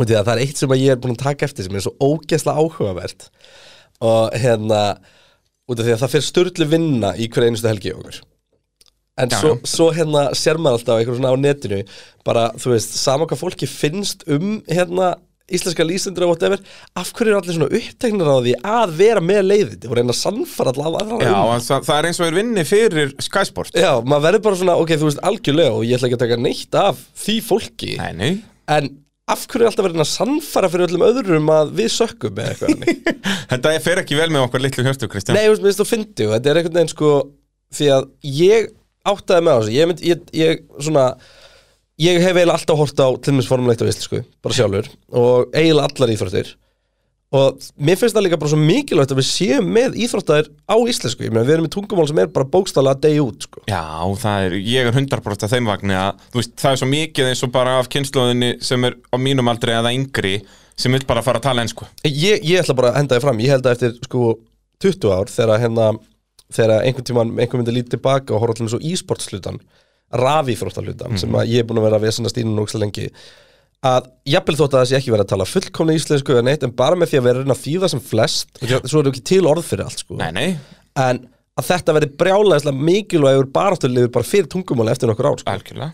S3: Og því að það er eitt sem að ég er búin að taka eftir sem er svo ógeðslega áhugavert Og hérna Út af því að það fyrir sturlu vinna í hver einustu helgi í okkur En
S2: Já,
S3: svo,
S2: já.
S3: svo hérna sér maður alltaf eitthvað svona á netinu Bara, þú veist, sama hvað fólki finnst um hérna íslenska lýsendur og whatever Af hverju eru allir svona uppteknar á því að vera með leiðið og reyna að sannfara alltaf aðra um
S2: Já, það, það er eins og er vinni fyrir Sky Sport
S3: Já, maður verður bara svona, ok, þú veist, algjörlega og ég ætla ekki að taka neitt af því fólki
S2: Nei, nei
S3: en af hverju er alltaf verið að sannfara fyrir öllum öðrum að við sökkum eða eitthvað hannig?
S2: Þetta fer ekki vel með okkur litlu hjörtu, Kristján
S3: Nei, þú veist, mér finnst þú fyndi og þetta er einhvern veginn sko því að ég áttaði með á þessu ég, mynd, ég, ég svona ég hef eiginlega alltaf hort á tilmissformuleitt á íslensku, sko, bara sjálfur og eiginlega allar íþróttir og mér finnst það líka bara svo mikilvægt að við séum með íþróttar á íslensku ég meina við erum með tungumál sem er bara bókstala day út sko.
S2: Já, það er, ég er hundarbrot að þeim vagni að, þú veist, það er svo mikið eins og bara af kynnslóðinni sem er á mínum aldri eða yngri sem vil bara fara að tala ensku
S3: Ég, ég ætla bara að henda þið fram, ég held að eftir sko 20 ár þegar að hérna þegar að einhvern tímann, einhvern myndi lítið tilbaka og horfa til eins og e-sportslutan rafíþróttalutan
S2: Mhm.
S3: sem að ég er búin að vera að vesenast inn og lengi að jafnvel þótt að það sé ekki verið að tala fullkomna íslensku eða neitt en bara með því að vera að reyna að þýða sem flest og svo eru ekki til orð fyrir allt sko
S2: Nei, nei,
S3: en að þetta verði brjálæðislega mikilvægur baráttulegur bara fyrir tungumáli eftir nokkur ár sko.
S2: algjörlega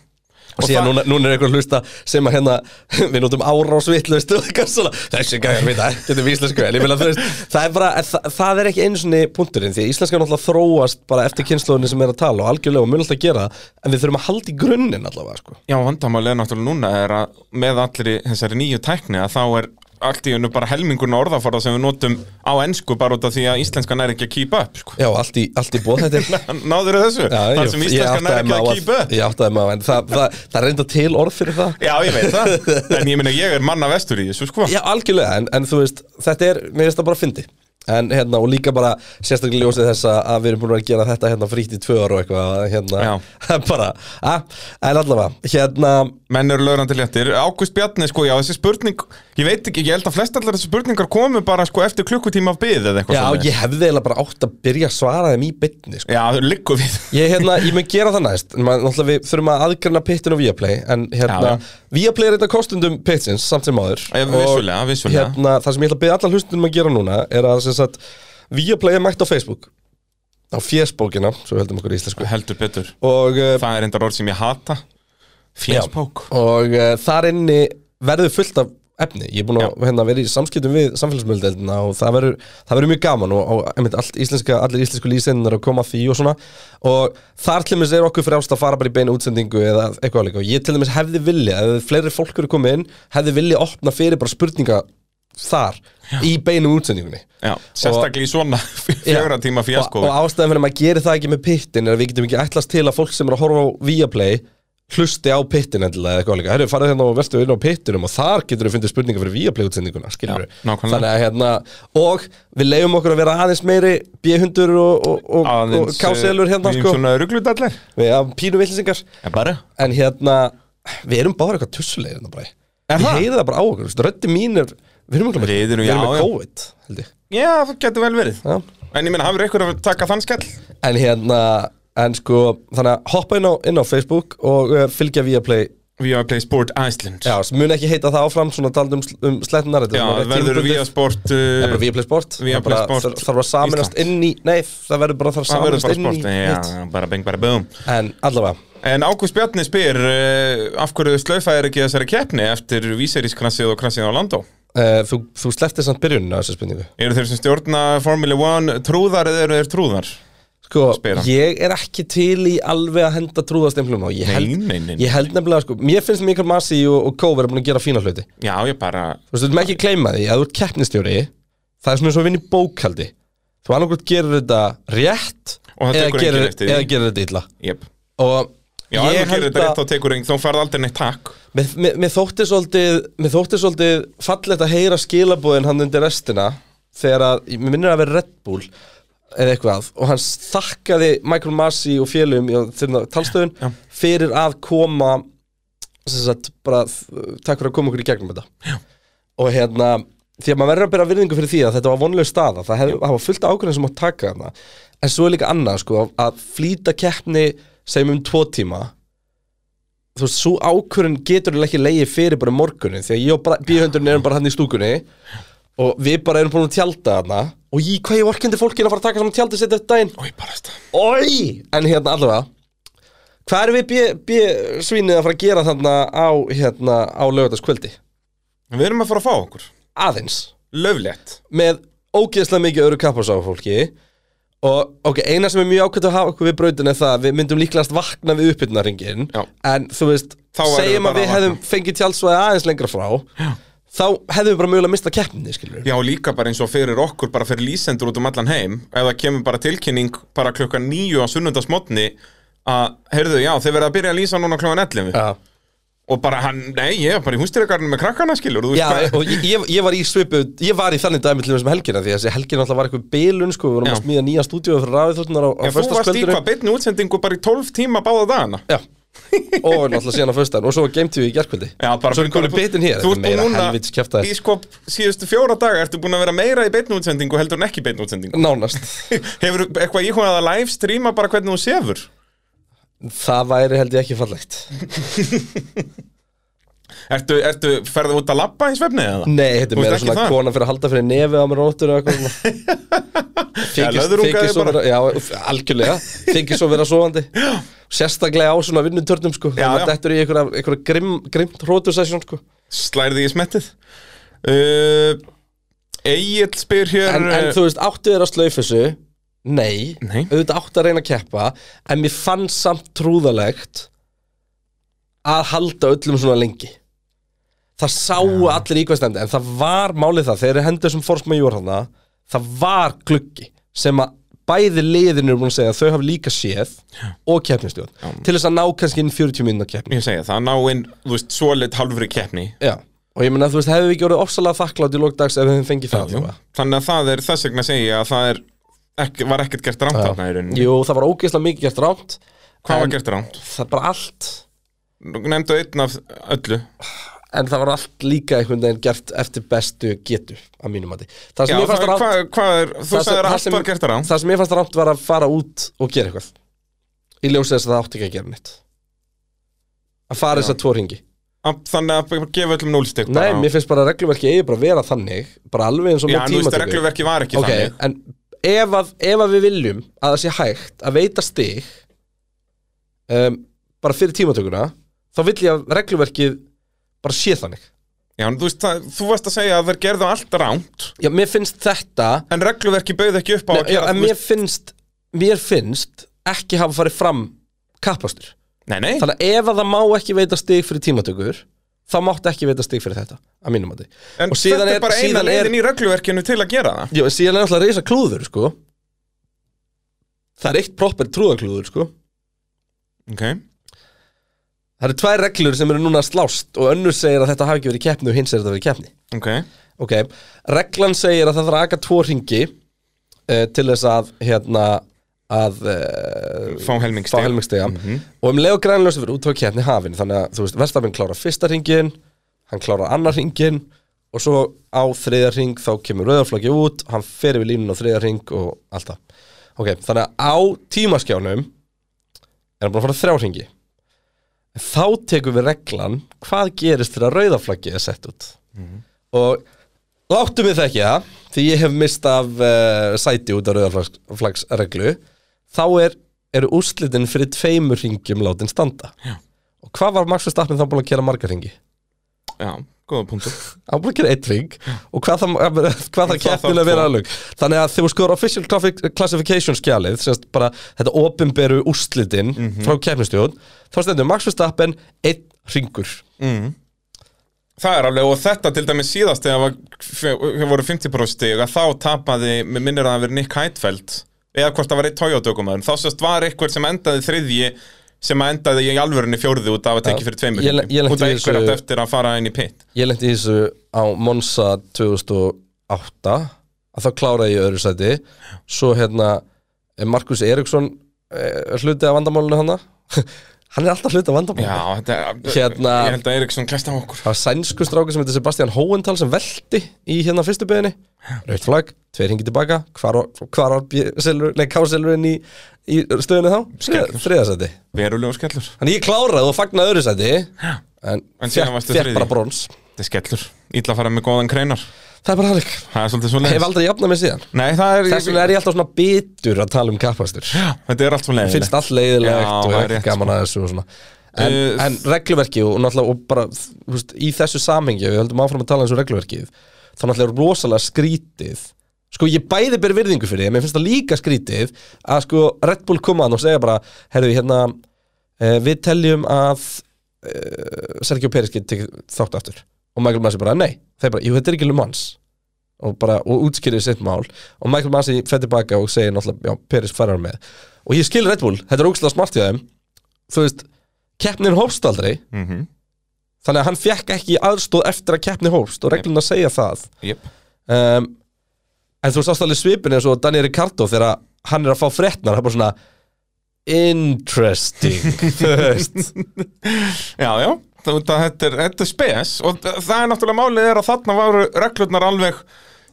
S3: Og síðan núna, núna er einhver að hlusta sem að hérna, við notum árásvitlaust og eitthvað svona, þessi gæjar vita ekkert um íslensku, en ég vil að þú veist, það er bara, en það, það er ekki einu svona punkturinn, því að íslenska er náttúrulega þróast bara eftir kynnslóðinni sem er að tala og algjörlega og mun alltaf að gera, það, en við þurfum að halda í grunninn allavega, sko.
S2: Já, vandamálið er náttúrulega núna er að með allri þessari nýju tækni að þá er allt í unnu bara helmingurna orðaforða sem við notum á ensku bara út af því að íslenskan er ekki að keep up sko.
S3: Já, allt í, allt í bóð þetta er...
S2: Náður þessu? Þar sem íslenskan
S3: áttaði
S2: er ekki
S3: mig á
S2: að keep up
S3: Ég áttaði maður, en það, það, það reynda til orð fyrir það.
S2: Já, ég veit það En ég minna, ég er manna vestur í þessu, sko
S3: Já, algjörlega, en, en þú veist, þetta er, mér finnst það bara fyndi En hérna, og líka bara sérstaklega ljósið þess að að við erum búin að gera þetta hérna frítt í tvö ára og eitthvað, að hérna, bara, að, en allavega, hérna,
S2: menn eru lögrandi léttir Ágúst Bjarni, sko, já, þessi spurning ég veit ekki, ég held að flestallar þessi spurningar komu bara sko eftir klukkutíma af byð eða eitthvað
S3: já,
S2: svoleiðis.
S3: ég hefði eiginlega bara átt að byrja að svara þeim í bytni, sko.
S2: já, þau liggur við
S3: Ég, hérna, ég mun gera það næst, en maður- náttúrulega við þurfum að aðgranna pittin og Viaplay, en hérna,
S2: Já, já.
S3: Viaplay er eitthvað kostundum pitsins, samt sem áður.
S2: Já,
S3: Og-
S2: vissulega, vissulega
S3: hérna, það sem ég ætla að byrja allar hlustundum að gera núna er að sem sagt, Viaplay er mætt á Facebook á fjesbókina, svo við höldum okkur í íslensku
S2: heldur betur
S3: og, uh,
S2: það er endar orð sem ég hata fjenspók
S3: og uh, þar inni verður fullt af efni, ég er búin að hérna, vera í samskiptum við samfélagsmjöldeldina og það verður, það verður mjög gaman og, og einmitt, allt íslenska, allir íslensku lýsendinar að koma að því og svona og þar til dæmis er okkur frjálst að fara bara í beina útsendingu eða eitthvað alveg og ég til dæmis hefði vilja, ef fleiri fólk eru komið inn hefði vilja opna fyrir bara spurninga þar í beinu útsendingunni
S2: já, sérstaklega í svona fjögra tíma fjenskó
S3: og, og ástæðan fyrir að maður gerir það ekki með pittin er að við getum ekki ætlast til að fólk sem er að horfa á Viaplay hlusti á pittin endilega eða eitthvað líka Herru, farið hérna og verðstu inn á pittinum og þar getur við fundið spurningar fyrir Viaplay útsendinguna, skilur
S2: Já, nákvæmlega.
S3: Þannig að hérna, og við leiðum okkur að vera aðeins meiri B-hundur og, og, og, og káselur hérna, sko
S2: eh, svona rugludallir
S3: Við erum pínu villisingar
S2: en bara
S3: En hérna, við erum bara eitthvað tussulegir hérna bara
S2: Er
S3: Ég
S2: það?
S3: heyri það bara á okkur, röddi mín er, við erum okkur með,
S2: Við erum-
S3: við erum
S2: já,
S3: með
S2: já.
S3: COVID, held ég
S2: já, það getur vel verið
S3: Já.
S2: en ég minna, hafur ykkur að taka þann skell
S3: En hérna, en sko, þannig að hoppa inn á, inn á Facebook og uh, fylgja Viaplay
S2: við erum að play sport Iceland
S3: Já, sem mun ekki heita það áfram, svona taldum um, sl- um slettunar
S2: Já, verður við að sport eh,
S3: Það er bara Viaplay Sport
S2: Viaplay
S3: Það bara
S2: Sport
S3: þarf- Þarf að saminast
S2: Ísland.
S3: inn í, nei, það verður bara þarf að
S2: Það verður
S3: saminast
S2: bara
S3: inn í
S2: sport, eh, já, bara beng, bara boom
S3: hitt. En allavega,
S2: En Ágúst Bjarni spyr uh, af hverju slaufa er ekki þessari keppni eftir víserískrassið og krassið á Landó
S3: uh, þú, þú sleftið samt byrjunina á þessu spurningu
S2: Eru þeir sem stjórna Formula 1 trúðar eða eru þeir trúðar?
S3: Sko,
S2: Spyr hann.
S3: ég er ekki til í alveg að henda trúðastemplum á Ég held,
S2: Nei, nei, nei, nei.
S3: ég held nefnilega, sko, mér finnst Mikael Masi og, og Kóver er búin að gera fína hluti
S2: Já, ég bara
S3: Þú veist, þú veitum ekki að gleyma því að þú ert keppnistjóri Það er svona eins og að vinna í bókaldi Þú annarkvæmt gerir þetta rétt
S2: Og það
S3: eða
S2: tekur enginn
S3: gerir,
S2: eftir því.
S3: eða gerir þetta illa
S2: yep.
S3: Og
S2: Já, ef þú gerir þetta rétt þá tekur einhvern, þá farð aldrei neitt takk
S3: mér, mér, mér þótti svolítið Mér þótti svolítið fallegt að heyra skilabóðin hann undir restina Þegar að, mér minnir að vera Red Bull Eða eitthvað Og hann þakkaði Michael Masi og félum í talstöðun
S2: Já.
S3: Fyrir að koma sem sagt, bara, þ- Takk fyrir að koma okkur í gegnum þetta og hérna því að maður verður að byrja virðingu fyrir því að þetta var vonlega staða það hef, hafa fullt ákveðin sem mátt taka þarna en svo er líka annað sko að- að flýta keppni segjum um tvo tíma þú veist, svo ákvörðin getur eiginlega ekki leiði fyrir bara morgunin því að ég og bíhundurinn erum bara hann í stúkunni og við bara erum búin að tjálta þarna og ég, hvað ég orkindi fólkinn að fara að taka saman tjálta sitt eftir daginn
S2: Ói, bara þetta
S3: Oi! En hérna allavega Hvað erum við B- B-svínið að fara að gera þarna á, hérna, á lögataskvöldi?
S2: Við erum að fara að fá okkur
S3: Aðeins
S2: Löflétt
S3: með ógeðslega mikið öru kappars á fólki og ok, eina sem er mjög ákvæmt að hafa okkur við brautin er það að við myndum líklegast vakna við uppbyrnaringin
S2: Já.
S3: en þú veist,
S2: Þá værum við
S3: segjum að
S2: bara
S3: við
S2: að
S3: hefðum fengið tjálsvæði aðeins lengra frá Já. þá hefðum við bara mögulega mista keppninni skilur
S2: Já, líka bara eins og fyrir okkur, bara fyrir lýsendur út um allan heim Ef það kemur bara tilkynning bara klukkan nýju á sunnundasmotni að, heyrðu, já, þeir verða að byrja að lýsa núna klukkan 11
S3: Já,
S2: Og bara hann, nei, ég er bara í hústýragarnum með krakkana, skilur þú veist
S3: Já
S2: hvað-
S3: og ég, ég- ég var í svipu, ég var í þannig dæmi til þessum helgina því að þessi helgina alltaf var eitthvað bilun sko, við vorum
S2: Já.
S3: að smíða nýja stúdíu fyrir rafið þóttunar á, á
S2: En þú varst í
S3: föstaskvöldinu
S2: hvað beinni útsendingu bara í 12 tíma báða dagana
S3: Já, og náttúrulega síðan á föstaðan og svo game TV í gerkvöldi
S2: Já, bara
S3: Svo er komin bitin hér,
S2: Þú
S3: þetta er
S2: ert
S3: meira
S2: búin
S3: helvitis kjaftaði.
S2: núna, í sko síðustu fjóra daga ertu búin að vera meira í beinni útsendingu heldur en ekki í beinni útsendingu
S3: Nánast
S2: Hefur eitthvað íhugað að live streama bara hvernig þú sefur?
S3: Það væri held ég ekki fallegt
S2: Ertu, ertu ferðu út að labba í svefni eða?
S3: Nei, þetta
S2: Þú
S3: er
S2: veist
S3: meira
S2: ekki
S3: svona
S2: það?
S3: konan fyrir að halda fyrir nefið á mér á nóttur eða eitthvað svona Þykist-
S2: löðrungaði
S3: þykist svo
S2: bara.
S3: vera- Já, uff, algjörlega Þykist svo vera sofandi Sérstaklega á svona vinnutörnum sko
S2: Já,
S3: Þannig að
S2: já.
S3: þetta er í einhverja, einhverja grimm, grimmt hrótusessjón sko
S2: Slærði í smettið uh, Egil spyr hér
S3: en, en þú veist, áttu þér að slaufa þessu Nei,
S2: Nei.
S3: auðvitað áttu að reyna að keppa En mér fann samt trúðalegt Að halda öllum svona lengi Það sáu allir í hvað stemdi En það var málið það, þegar hendur sem forsma júr hana Það var gluggi Sem að bæði liðinu er búin að segja að Þau hafi líka séð og keppnistjóð
S2: uh,
S3: Til þess að ná kannski inn 40 minna keppni
S2: Ég segja það, ná inn, þú veist, svoleitt halvri keppni
S3: Já, og ég meina þú veist, hefðu við ekki orðið ofsalega þakklátt í lókdags ef við hefðum fengið sko. það allavega.
S2: Þannig að það er þess vegna að segja að það er ekki, var ekkert gert rámt
S3: Já.
S2: þarna í rauninni
S3: Jú, það var ógeðslega mikið gert rámt
S2: Hvað
S3: en-
S2: var gert rámt?
S3: Það er bara allt
S2: Nefndu einn af öllu
S3: En það var allt líka einhvern veginn gert eftir bestu getu Að mínum mati Það
S2: Já,
S3: sem ég
S2: það,
S3: fannst rámt
S2: hvað, hvað er, þú
S3: það sem-
S2: sagðir að
S3: það
S2: allt
S3: sem-
S2: var gert rámt
S3: Það sem ég fannst rámt var að fara út og gera eitthvað Í ljósi þess að það átti ekki að gera neitt Að fara þess að tvo ringi
S2: Að- Þannig að bara gefa öllum núlstig
S3: Nei, mér finnst bara að regluverki eigi bara að vera þannig Bara alveg eins og
S2: Já,
S3: með
S2: nú veist,
S3: tímatöku.
S2: regluverki var ekki
S3: Ok,
S2: þannig
S3: en ef að, ef að við viljum að það sé hægt að veita stig um, bara fyrir tímatökuna þá vill ég að regluverkið bara sé þannig
S2: Já, en þú veist, það, þú varst að segja að þeir gerðu allt rámt
S3: Já, mér finnst þetta
S2: En regluverki bauð ekki upp á
S3: Nei,
S2: að
S3: já,
S2: gera
S3: en
S2: þú
S3: mér
S2: veist-
S3: finnst, mér finnst ekki hafa farið fram kappastur
S2: Nei, nei,
S3: Þannig að ef að það má ekki veita stig fyrir tímatökur þá máttu ekki veita stig fyrir þetta að mínum að
S2: en þetta er bara eina leiðin í regluverkinu til að gera það
S3: Já, en síðan er alltaf að reysa klúður, sko Það er eitt proper trúðaklúður, sko
S2: Ok,
S3: Það eru tvær reglur sem eru núna að slást og önnur segir að þetta hafi ekki verið keppni og hins segir að þetta hafi verið keppni.
S2: ok
S3: Ok, reglan segir að það þarf að aka tvo ringi uh, til þess að hérna að uh,
S2: Fá helmingsstig.
S3: fá helmingstega. og um leið og grænljósa fyrir útvöð keppni hafin þannig að þú veist, Verstafinn klárar fyrsta ringin hann klárar annar ringin og svo á þriðja ring þá kemur rauðarflaggi út, hann fer yfir línun á þriðja ring og allt það ok, þannig að á tímaskjánum er hann bara að fara þrjá ringi En þá tekum við reglan hvað gerist þegar rauðarflaggi er sett út og Láttu mig það ekki það, því ég hef mist af uh, sæti út af rauðarflagsreglu þá er, eru úrslitin fyrir tveimur ringjum látin standa
S2: Já.
S3: og hvað var Max Verstappen þá búin að gera marga ringi?
S2: Já, góða punktur
S3: Hann var búin að gera eitt ring og hvað það, hvað það
S2: þá
S3: keppnil að
S2: tvo.
S3: vera alveg þannig að þegar þú skoður official classific- classification skjalið sérst bara þetta opinberu úrslitin
S2: Mhm.
S3: frá keppnistjón þá stendur Max Verstappen einn ringur
S2: Það er alveg, og þetta til dæmis síðast þegar var, þegar voru 50% stig að þá tapaði, mér minnir að það hafi verið Nick Heidfeld eða hvort það var eitt Toyota-ökumæður þá sérst var eitthvað sem endaði þriðji sem að endaði í alvörunni fjórði út af að tekja
S3: Já.
S2: fyrir tveimur
S3: Ég le- ég
S2: hringjum. út af
S3: lenti í
S2: einhver átt
S3: þessu-
S2: eftir að fara inn í pitt
S3: Ég lendi í þessu á Monza 2008 að þá kláraði ég í öðru sæti svo hérna eh, Markus Eriksson eh, hluti af vandamálinu hana hann er alltaf hluti af
S2: Já,
S3: vandamálinu
S2: þetta er,
S3: Hérna-
S2: ég held að Eriksson klesta á okkur
S3: það var sænsku stráki sem heitir Sebastian Hóental sem velti í hérna fyrstu beginni rautt flagg, tveir hingi tilbaka hvar var- hvar var B- selur- nei, K-selurinn í, í stöðunni þá?
S2: Skellur.
S3: þriðasæti
S2: Verulegur skellur,
S3: þannig ég kláraði og fagnaði öðru sæti en,
S2: En
S3: en
S2: síðan
S3: fekk,
S2: varstu
S3: fekk
S2: þriðji.
S3: bara brons
S2: þetta er skellur Ítla að fara með góðan kreinar
S3: það er bara þannig,
S2: Það er svolítið svo
S3: hef aldrei jafnað mig síðan
S2: Nei, það er,
S3: Þess vegna er ég alltaf svona bitur að tala um kappastur
S2: Já, þetta er allt svo leiðilegt
S3: Finnst allt leiðilegt
S2: Já,
S3: og
S2: það er
S3: ekki
S2: rétt,
S3: gaman að þessu og svona En,
S2: Uh,
S3: en regluverki og náttúrulega og bara, þú veist, í þessu samhengi ef við höldum áfram að tala eins og regluverkið þá náttúrulega er rosalega skrítið sko ég bæði ber virðingu fyrir því en mér finnst það líka skrítið að sko Red Bull koma hann og segja bara herðu hérna eh, við teljum að eh, Sergio Peris geti tekið þátt aftur og Michael Massey bara nei, þeir bara, jú þetta er ekki Le Mans og bara, og útskýrið sitt mál og Michael Massey fer tilbaka og segir náttúrulega, já, Peris færar með og ég skil Red Bull, þetta er ógstlega smart hjá þeim þú veist, keppnin hófst aldrei
S2: Mhm.
S3: þannig að hann fekk ekki aðstóð eftir að keppni hófst og regluna segja það
S2: Jep.
S3: um, en þú sást alveg svipin eins og Daniel Ricardo þegar hann er að fá fréttnar, það er bara svona interesting þú veist
S2: Já, já, það, það, þetta, er, þetta er spes og þa- það er náttúrulega málið er að þarna voru reglurnar alveg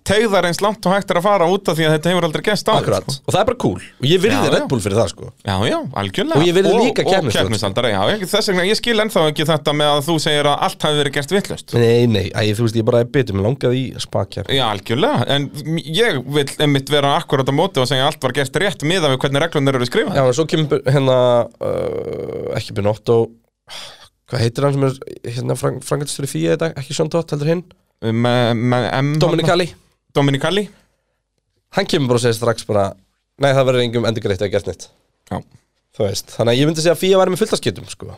S2: tegðar eins langt og hægt er að fara út af því að þetta hefur aldrei gest áður
S3: Akkurat,
S2: sko.
S3: og það er bara cool og ég virði
S2: Já, já.
S3: Red Bull fyrir það sko
S2: Já, já, algjörlega
S3: Og ég virði líka
S2: og, og
S3: keppnisstjórn.
S2: keppnisaldar, já, ég- þess vegna ég skil ennþá ekki þetta með að þú segir að allt hafi verið gert vittlust
S3: Nei, nei, æ, þú veist, ég bara er betur, mér langaði í spakjar
S2: Já, algjörlega, en m- ég vil einmitt vera akkurat á móti og segja að allt var gert rétt miðað við hvernig reglurnar eru
S3: Já,
S2: skrifað
S3: en svo kemur hérna uh, ekki Binotto hvað heitir hann sem er hérna Frank, frangatistur í fíja þetta, ekki Sean Dott heldur hinn
S2: með, með M
S3: Dominic Alli,
S2: Dominicali
S3: hann kemur bara og segir strax bara nei það verður engum endurgreitt að gert neitt
S2: Já,
S3: þú veist, þannig að ég myndi segja að fíja væri með fulltaskiptum sko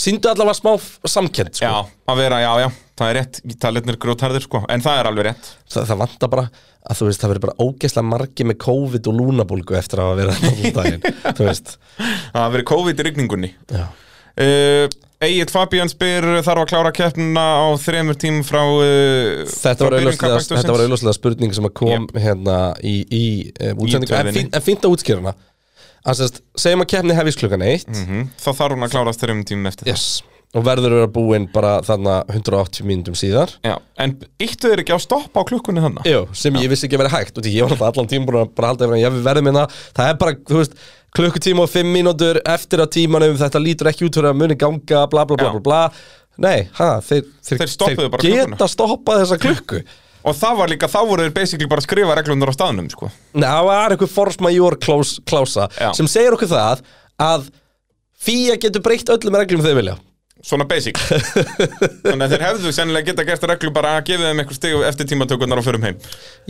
S3: síndu allavega smá f- samkennd sko.
S2: já, að vera, já, já, það er rétt Talenir grótarðir, sko, en það er alveg rétt
S3: það, það vantar bara að þú veist, það verður bara ógeðslega margi með COVID og lúnabólgu eftir að hafa verið þarna allan daginn, þú veist
S2: Það hafi verið COVID í rigningunni
S3: Já.
S2: uh, Egil Fabian spyr eh, þarf að klára keppnuna á þremur tímum frá uh,
S3: Þetta var auðvitað þetta var auðvitað spurning sem að kom hérna í, í uh, útsendingu en,
S2: tölvunni.
S3: fín, en fínt að útskýra hana Hann sérst, segjum að keppni hefjist klukkan eitt
S2: Mhm, Þá þarf hún að klárast þremur tímum eftir
S3: Yes Og verður að vera búinn bara þarna 180 mínútum síðar
S2: það Já, en íttu þeir ekki á stopp á klukkunni þannig?
S3: Jú, sem ég vissi ekki að vera hægt og því ég var alltaf allan tíma búin að bara halda yfir hann, ég við verðum hérna það er bara, þú veist, klukkutíma og fimm mínútur eftir að tímanum, þetta lítur ekki út fyrir að muni ganga, bla bla bla
S2: Já.
S3: bla bla Nei, ha, þeir, þeir,
S2: Þeir stoppuðu bara
S3: geta
S2: klukkuna.
S3: stoppað þessa klukku
S2: Og það var líka, þá voru þeir basically bara að skrifa reglunar á staðnum, sko.
S3: Nei, það var einhver force major klás- klása
S2: Já.
S3: sem segir okkur það að fíja getur breytt öllum reglum þegar vilja
S2: Svona basic. Þannig að þeir hefðu sennilega geta gert reglu bara að gefa þeim einhver stig eftir tímatökurnar og förum heim.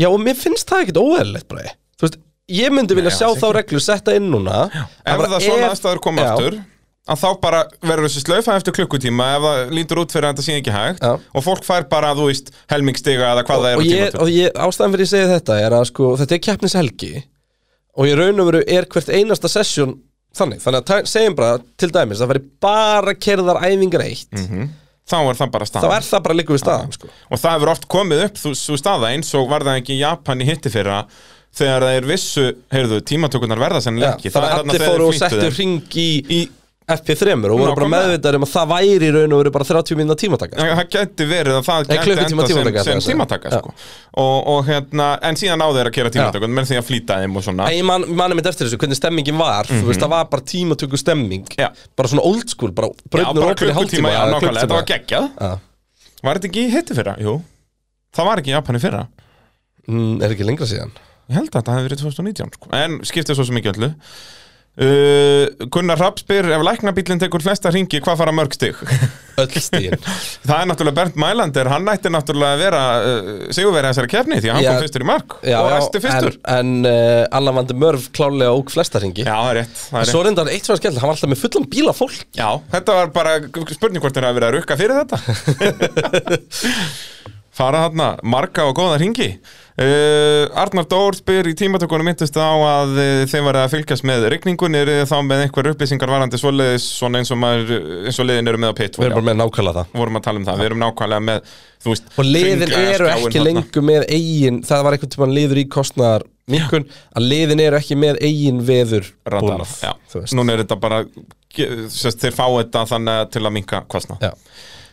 S3: Já, og mér finnst það ekkert óeðlilegt bara Þú veist, ég myndi vilja
S2: Nei,
S3: sjá
S2: alls
S3: þá reglu setta inn núna
S2: Ef
S3: bara
S2: það svona
S3: ef-
S2: aðstæður koma
S3: Já.
S2: aftur, að þá bara verður þessi slaufa eftir klukkutíma ef það lítur út fyrir að þetta sé ekki hægt
S3: Já.
S2: og fólk fær bara, þú veist, helmingstiga eða hvað það er
S3: og
S2: á
S3: ég,
S2: tímatökum.
S3: og ég, ástæðan fyrir ég segi þetta er að sko, þetta er keppnishelgi og ég raun og veru er hvert einasta sesjón þannig, þannig að ta- segjum bara til dæmis að veri bara kerðar æfingar eitt
S2: Mhm. Þá er það bara
S3: þá
S2: staðan.
S3: er það bara líka við staðum sko.
S2: Og það hefur oft komið upp þú- sú staða eins og var það ekki í Japan í hitti fyrra þegar það er vissu, heyrðu, tímatökurnar verða sennilega ekki.
S3: þannig að
S2: þarna
S3: allir
S2: þegar
S3: fóru og
S2: þeir flýttu
S3: settu
S2: þeim.
S3: hring í, í FP3 og voru bara
S2: Nákvæmlega.
S3: meðvitað um að það væri í raun og veru bara 30 minna tímataka sko.
S2: Já, það gæti verið að það gæti
S3: klukkutíma tímataka,
S2: enda sem, sem
S3: þessi.
S2: tímataka sko. og, og hérna, en síðan á þeir að gera tímataka menn því að flýta þeim og svona
S3: En ég man, mani mitt eftir þessu, hvernig stemmingin var Þú veist, það var bara tímatöku stemming
S2: Mhm. Já.
S3: Bara svona old school, bara
S2: Já,
S3: brautnur
S2: bara
S3: opnir í hálftíma
S2: klukkutíma, já,
S3: eða
S2: nákvæmlega, þetta var
S3: klukkutíma.
S2: geggjað
S3: Já.
S2: Var þetta ekki í hitti fyrra? Jú Það var ekki í Japani fyrra
S3: Mm, Er ekki lengra síðan
S2: Ég held að þetta hefði verið 2019 sko. En skiptið svo sem ekki öllu uh, Gunnar Rapp spyr Ef læknabílinn tekur flesta ringi, hvað fara mörg stig?
S3: Öll stíðin
S2: það er náttúrulega Bernd Mælander Hann ætti náttúrulega að vera uh, sigurverið þessari kefni Því að hann
S3: Já.
S2: kom fyrstur í mark og resti fyrstur
S3: En, en uh, Allan Vandi Mörf klálega óg flesta ringi
S2: Já, það er rétt, það er rétt.
S3: Svo reyndar eitt sem var skemmt, hann var alltaf með fullan bíla fólk
S2: Já, þetta var bara spurning hvort þeir hafa verið að rukka fyrir þetta Fara þarna, marga og góða ringi uh, Arnar Dór spyr í tímatökunum myndist á að uh, þeim var að fylgjast með rigningun eru þið þá með einhver upplýsingar varandi svoleiðis svona eins og, maður, eins og liðin eru með á pit
S3: Við erum bara með nákvæmlega það
S2: vorum að tala um það, við erum nákvæmlega með þú veist,
S3: Og liðin
S2: hringlaga
S3: eru
S2: skjáinn
S3: ekki
S2: þarna.
S3: lengur með eigin Það var einhvern tímann liður í kostnaðar minkun Að liðin eru ekki með eigin veður
S2: Radar,
S3: búnað,
S2: já.
S3: þú veist.
S2: Núna er þetta bara sérst, þeir fá þetta þannig að- til að minka kostna
S3: Já.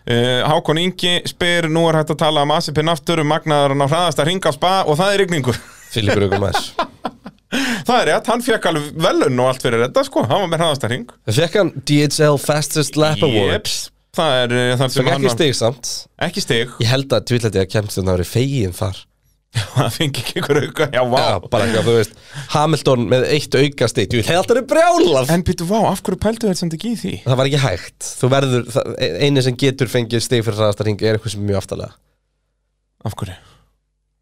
S2: Uh, Hákon Ingi spyr, nú er hægt að tala um Asipin aftur, um magnaðurinn á hraðasta ring á spa og það er rigningu.
S3: Filipur Ögumæður
S2: það er rétt, hann fekk alveg velun og allt fyrir þetta, sko, hann var með hraðasta ring.
S3: Fekk hann DHL Fastest Lap Award
S2: Jeps, það er uh, þar sem
S3: Fekk
S2: hann
S3: ekki stig samt
S2: Ekki stig,
S3: Ég held að tvítlati að kemst þannig að vera fegin þar
S2: það fengi ekki ykkur auka, já, vá.
S3: Já, bara eitthvað, þú veist Hamilton með eitt auka stig Ég held að það er brjálað
S2: En býttu, vá, af hverju pældu þeir sem þetta ekki í því?
S3: Það var ekki hægt Þú verður, það- e, eini sem getur fengið stig fyrir hraðasta ring er eitthvað sem er mjög aftalega
S2: Af hverju?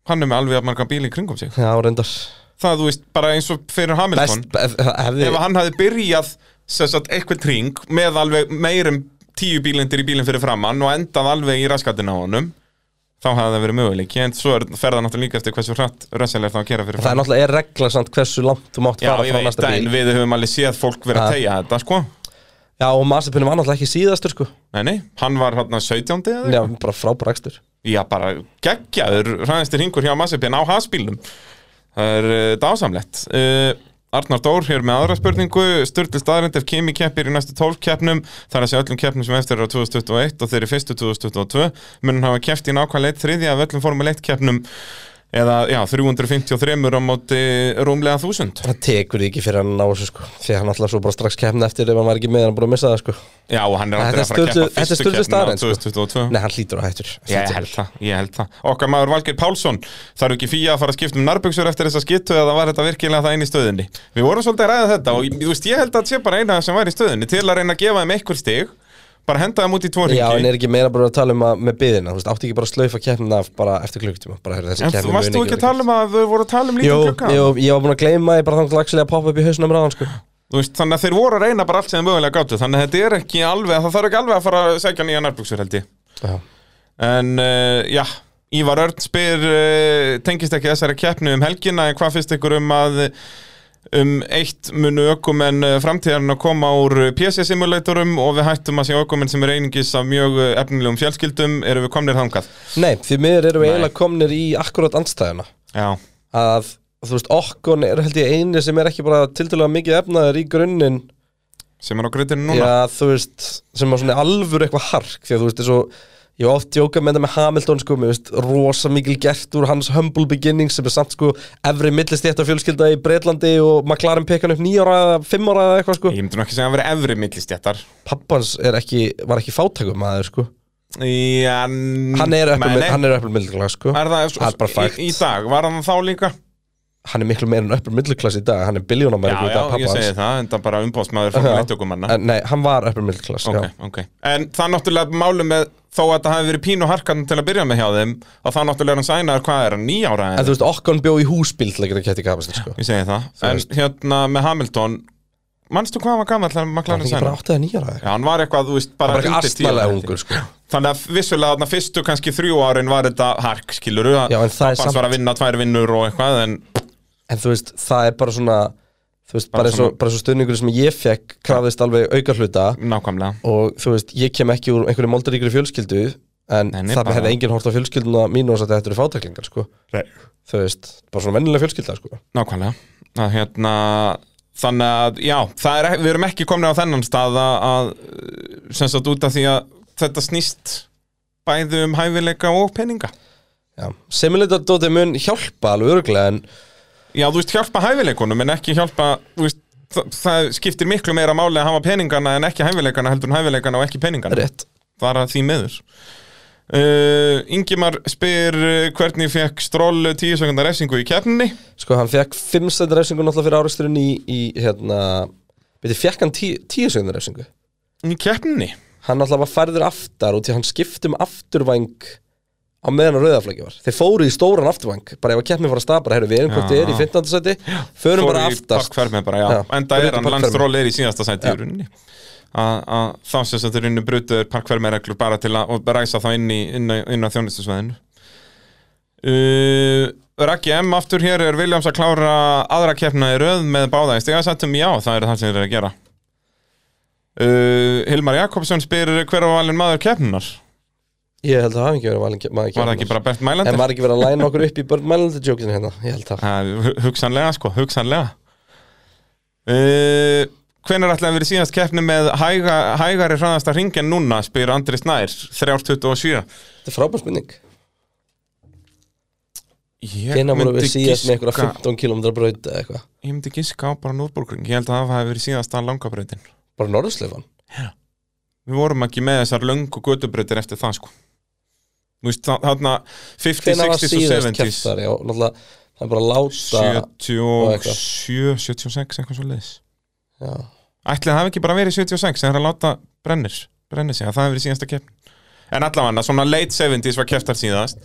S2: Hann er með alveg að marga bíli í kringum sig.
S3: Já, reyndar
S2: Það, þú veist, bara eins og fyrir Hamilton.
S3: Best, ef- ef- hefði,
S2: Ef hann hefði byrjað, sem sagt, eitthvað ring með alveg meirum tíu bílendir í bílinn fyrir framann og endað alveg í raskatina á honum þá hefði það verið möguleiki en svo er ferða náttúrulega líka eftir hversu hratt Russell er það að gera fyrir
S3: Það er náttúrulega er regla samt hversu langt þú mátt
S2: Já,
S3: fara
S2: ég
S3: frá
S2: veit
S3: næsta
S2: það, en
S3: bíl
S2: við höfum alveg séð fólk vera að
S3: Ja.
S2: tegja þetta, sko
S3: Já, og Masipinu var náttúrulega ekki síðastur sko
S2: Nei, nei, hann var hann 17. eða
S3: Já, bara frábærakstur
S2: Já, bara geggjaður hraðistir hingur hjá Massipin á hasbílnum Það er uh, dásamlegt uh, Arnar Dór hér með aðra spurningu Sturlu staðrind ef Kimi keppir í næstu 12 keppnum Það er að sé öllum keppnum sem eftir er á 2021 og þeir eru fyrstu 2022 munum hafa keppt í nákvæmlega eitt þriðja af öllum formule 1 keppnum eða já, 353 á móti rúmlega 1000
S3: Það tekur því ekki fyrir hann á þessu sko Því að hann alltaf svo bara strax kemna eftir ef hann var ekki með hann búin að missa það sko
S2: Já, og hann er
S3: Þetta er
S2: aldrei að fara að
S3: Sturlu- þetta
S2: keppa
S3: er
S2: fyrstu
S3: Sturlu
S2: keppnum á
S3: staðreynd, sko.
S2: 2022
S3: Nei, hann hlýtur að hættur
S2: Ég held það, ég held það Okkar maður Valgeir Pálsson Þarf ekki fíja að fara að skipta um nærbuxur eftir þessa skittu eða var þetta virkilega það einn í stöðinni Við vorum svolítið að ræða þetta og þú veist, ég held að þetta sé bara eina sem var í stöðinni til að reyna að gefa þeim einhver stig bara henda þeim út í tvo
S3: Já, en
S2: ringi
S3: er ekki meira bara að tala um að með byðina Þú veist, átti ekki bara að slaufa keppnina af bara eftir klukkutíma Bara hefur þessi
S2: En
S3: keppni
S2: þú varst
S3: mun
S2: þú ekki að tala um að þau voru að tala um
S3: Jú,
S2: lítið klukka
S3: jú, ég var búin að gleyma ég bara þangt lagslega að poppa upp í hausnum ráðan sko.
S2: Þú veist, Þannig að þeir voru að reyna bara allt sem þeim mögulega gátu Þannig að þetta er ekki alveg, það þarf ekki alveg að fara að segja nýja nærbuxur held ég
S3: Já.
S2: En uh, já, eh, Ívar Örn spyr uh, tengist ekki þessari keppni um helgina en hvað finnst ykkur um að um eitt munu ökumenn eh, framtíðarinn að koma úr PC-simulatorum og við hættum að sé ökumenn sem er einingis af mjög eh, efnilegum fjölskyldum erum við komnir þangað
S3: Nei, því miður erum við eiginlega komnir í akkurat andstæðuna
S2: Já,
S3: að þú veist, okkon er held ég eini sem er ekki bara tildulega mikið efnaður í grunninn
S2: sem er á gröðinu núna
S3: Já, þú veist, sem var svona alvöru eitthvað hark því að þú veist, eins og ég var oft djóka með það með Hamilton sko, mér veist, rosa mikil gert úr hans humble beginnings sem er samt sko efri millistjætt af fjölskylda í Breitlandi og McLaren pekkan upp nýjára eða fimmára eða eitthvað sko
S2: Ég myndi nú ekki segja að vera efri millistjættar
S3: pappans er ekki, var ekki fátækum maður sko,
S2: Já,
S3: hann er
S2: nei, nei.
S3: öppur milliklass sko,
S2: Er það,
S3: Það er bara
S2: í,
S3: fakt.
S2: í dag, var hann þá líka?
S3: hann er miklu meira en öppur milliklass í dag, hann er biljónamæri
S2: Já, já, ég segi það, en það bara umbóðsmaður fyrir
S3: Já.
S2: leitt okkur manna
S3: En, nei, hann var öppur milliklass
S2: Ok, ok. En það er náttúrulega málum með þó að það hafi verið pínu harkan til að byrja með hjá þeim og það náttúrulega er hann sænaður hvað er hann nýjára
S3: en þú veist, okkon bjó í húsbíl til að geta kætt í kapastin sko
S2: Ég segi það,
S3: Þú
S2: en
S3: veist.
S2: hérna með Hamilton Manstu hvað hann var gamall þegar
S3: hann
S2: McLaren
S3: er ekki bara
S2: sænaður?
S3: áttið að nýjára
S2: Já, hann var eitthvað, þú veist, bara,
S3: bara ekki
S2: undir tíu
S3: astmalega
S2: ára, held ég.
S3: ungur sko
S2: Þannig að vissulega þarna fyrstu kannski þrjú árin var þetta hark, skilur þú
S3: Já, en það er samt-
S2: var að vinna tvær vinnur og eitthvað en
S3: en þú veist, það er bara svona þú veist, bara, eins og,
S2: svona-
S3: bara eins og stöðningur sem ég fekk krafðist alveg auka hluta
S2: nákvæmlega
S3: og þú veist, ég kem ekki úr einhverju moldaríkri fjölskyldu en
S2: Nei, nei,
S3: það
S2: bara-
S3: hefði enginn hort á fjölskylduna mínu og sagt að þetta eru fátæklingar, sko þú veist, bara svona vennilega fjölskylda, sko
S2: Nákvæmlega að, hérna, Þannig að, já, það er, ek- við erum ekki komin á þennan stað að, að sem sagt út af því að þetta snýst bæði um hæfileika og peninga
S3: Já. Simulator.dóti mun hjálpa alveg örgulega en
S2: Já, þú veist, hjálpa hæfileikunum en ekki hjálpa, þú veist það, það skiptir miklu meira máli að hafa peningana en ekki hæfileikana, heldur en hæfileikana og ekki peningana
S3: rétt
S2: Það er að því meður uh, Ingimar spyr uh, hvernig fekk stról 10 sekundar refsingu í keppninni
S3: sko, hann fekk 5 sendur refsingu náttúrulega fyrir áreksturinn í, í hérna, veitir, fekk hann 10 sendur refsingu
S2: Í keppninni?
S3: hann alltaf var færður aftar og til hann skipti um afturvæng á meðan að rauðaflæki var þeir fóru í stóran afturvæng bara ef að keppni fór að stað bara heyrðu við erum hvort
S2: Já.
S3: þið er í 15. seti förum bara aftast
S2: parkfermi bara, já,
S3: Já,
S2: en það er
S3: brutu
S2: hann
S3: parkfermi.
S2: landstról er í síðasta sæti í rauninni að að þá sem þetta er inni brutuður parkfermireglur bara til að og ræsa þá inn, í, inn, á- inn á þjónustusvæðinu uh, Raki M aftur hér er Williams að klára aðra keppna í röð með báða í stegasættum, já, það er það sem þeir eru að gera uh, Hilmar Jakobsson spyr hver var valinn maður keppnunar
S3: ég held að það hafi ekki verið valin ke- maður
S2: var það ekki
S3: keppnar.
S2: bara Bert
S3: en
S2: Mælandir?
S3: var ekki verið að læna okkur upp í börn mælandi jókinu hérna ég held það
S2: Það er hugsanlega sko, hugsanlega uh, Hvenær ætlaði að vera síðast keppni með hæga, hægari hraðasta hring en núna, spyr Andri Snær 3.27
S3: þetta er frábær spurning
S2: Ég
S3: hvenær voru við
S2: myndi
S3: síðast með einhverja
S2: giska-
S3: 15 km braut eða eitthvað
S2: Ég myndi giska á bara Núrburgring Ég held að það hafi verið síðasta langabrautin
S3: bara norðsleifan
S2: Við vorum ekki með þessar löngu götubrautir eftir það sko Þú veist, þa- þarna 50,
S3: hvenær var
S2: 60s og
S3: síðast
S2: 70s
S3: kepptar já náttúrulega það er bara að láta
S2: 77, 76 eitthvað svo leiðis
S3: já.
S2: Ætli það hafi ekki bara verið 76 sem er að láta brennir, brennir sig að það hefur verið síðasta keppn En allavega, svona late 70s var kepptar síðast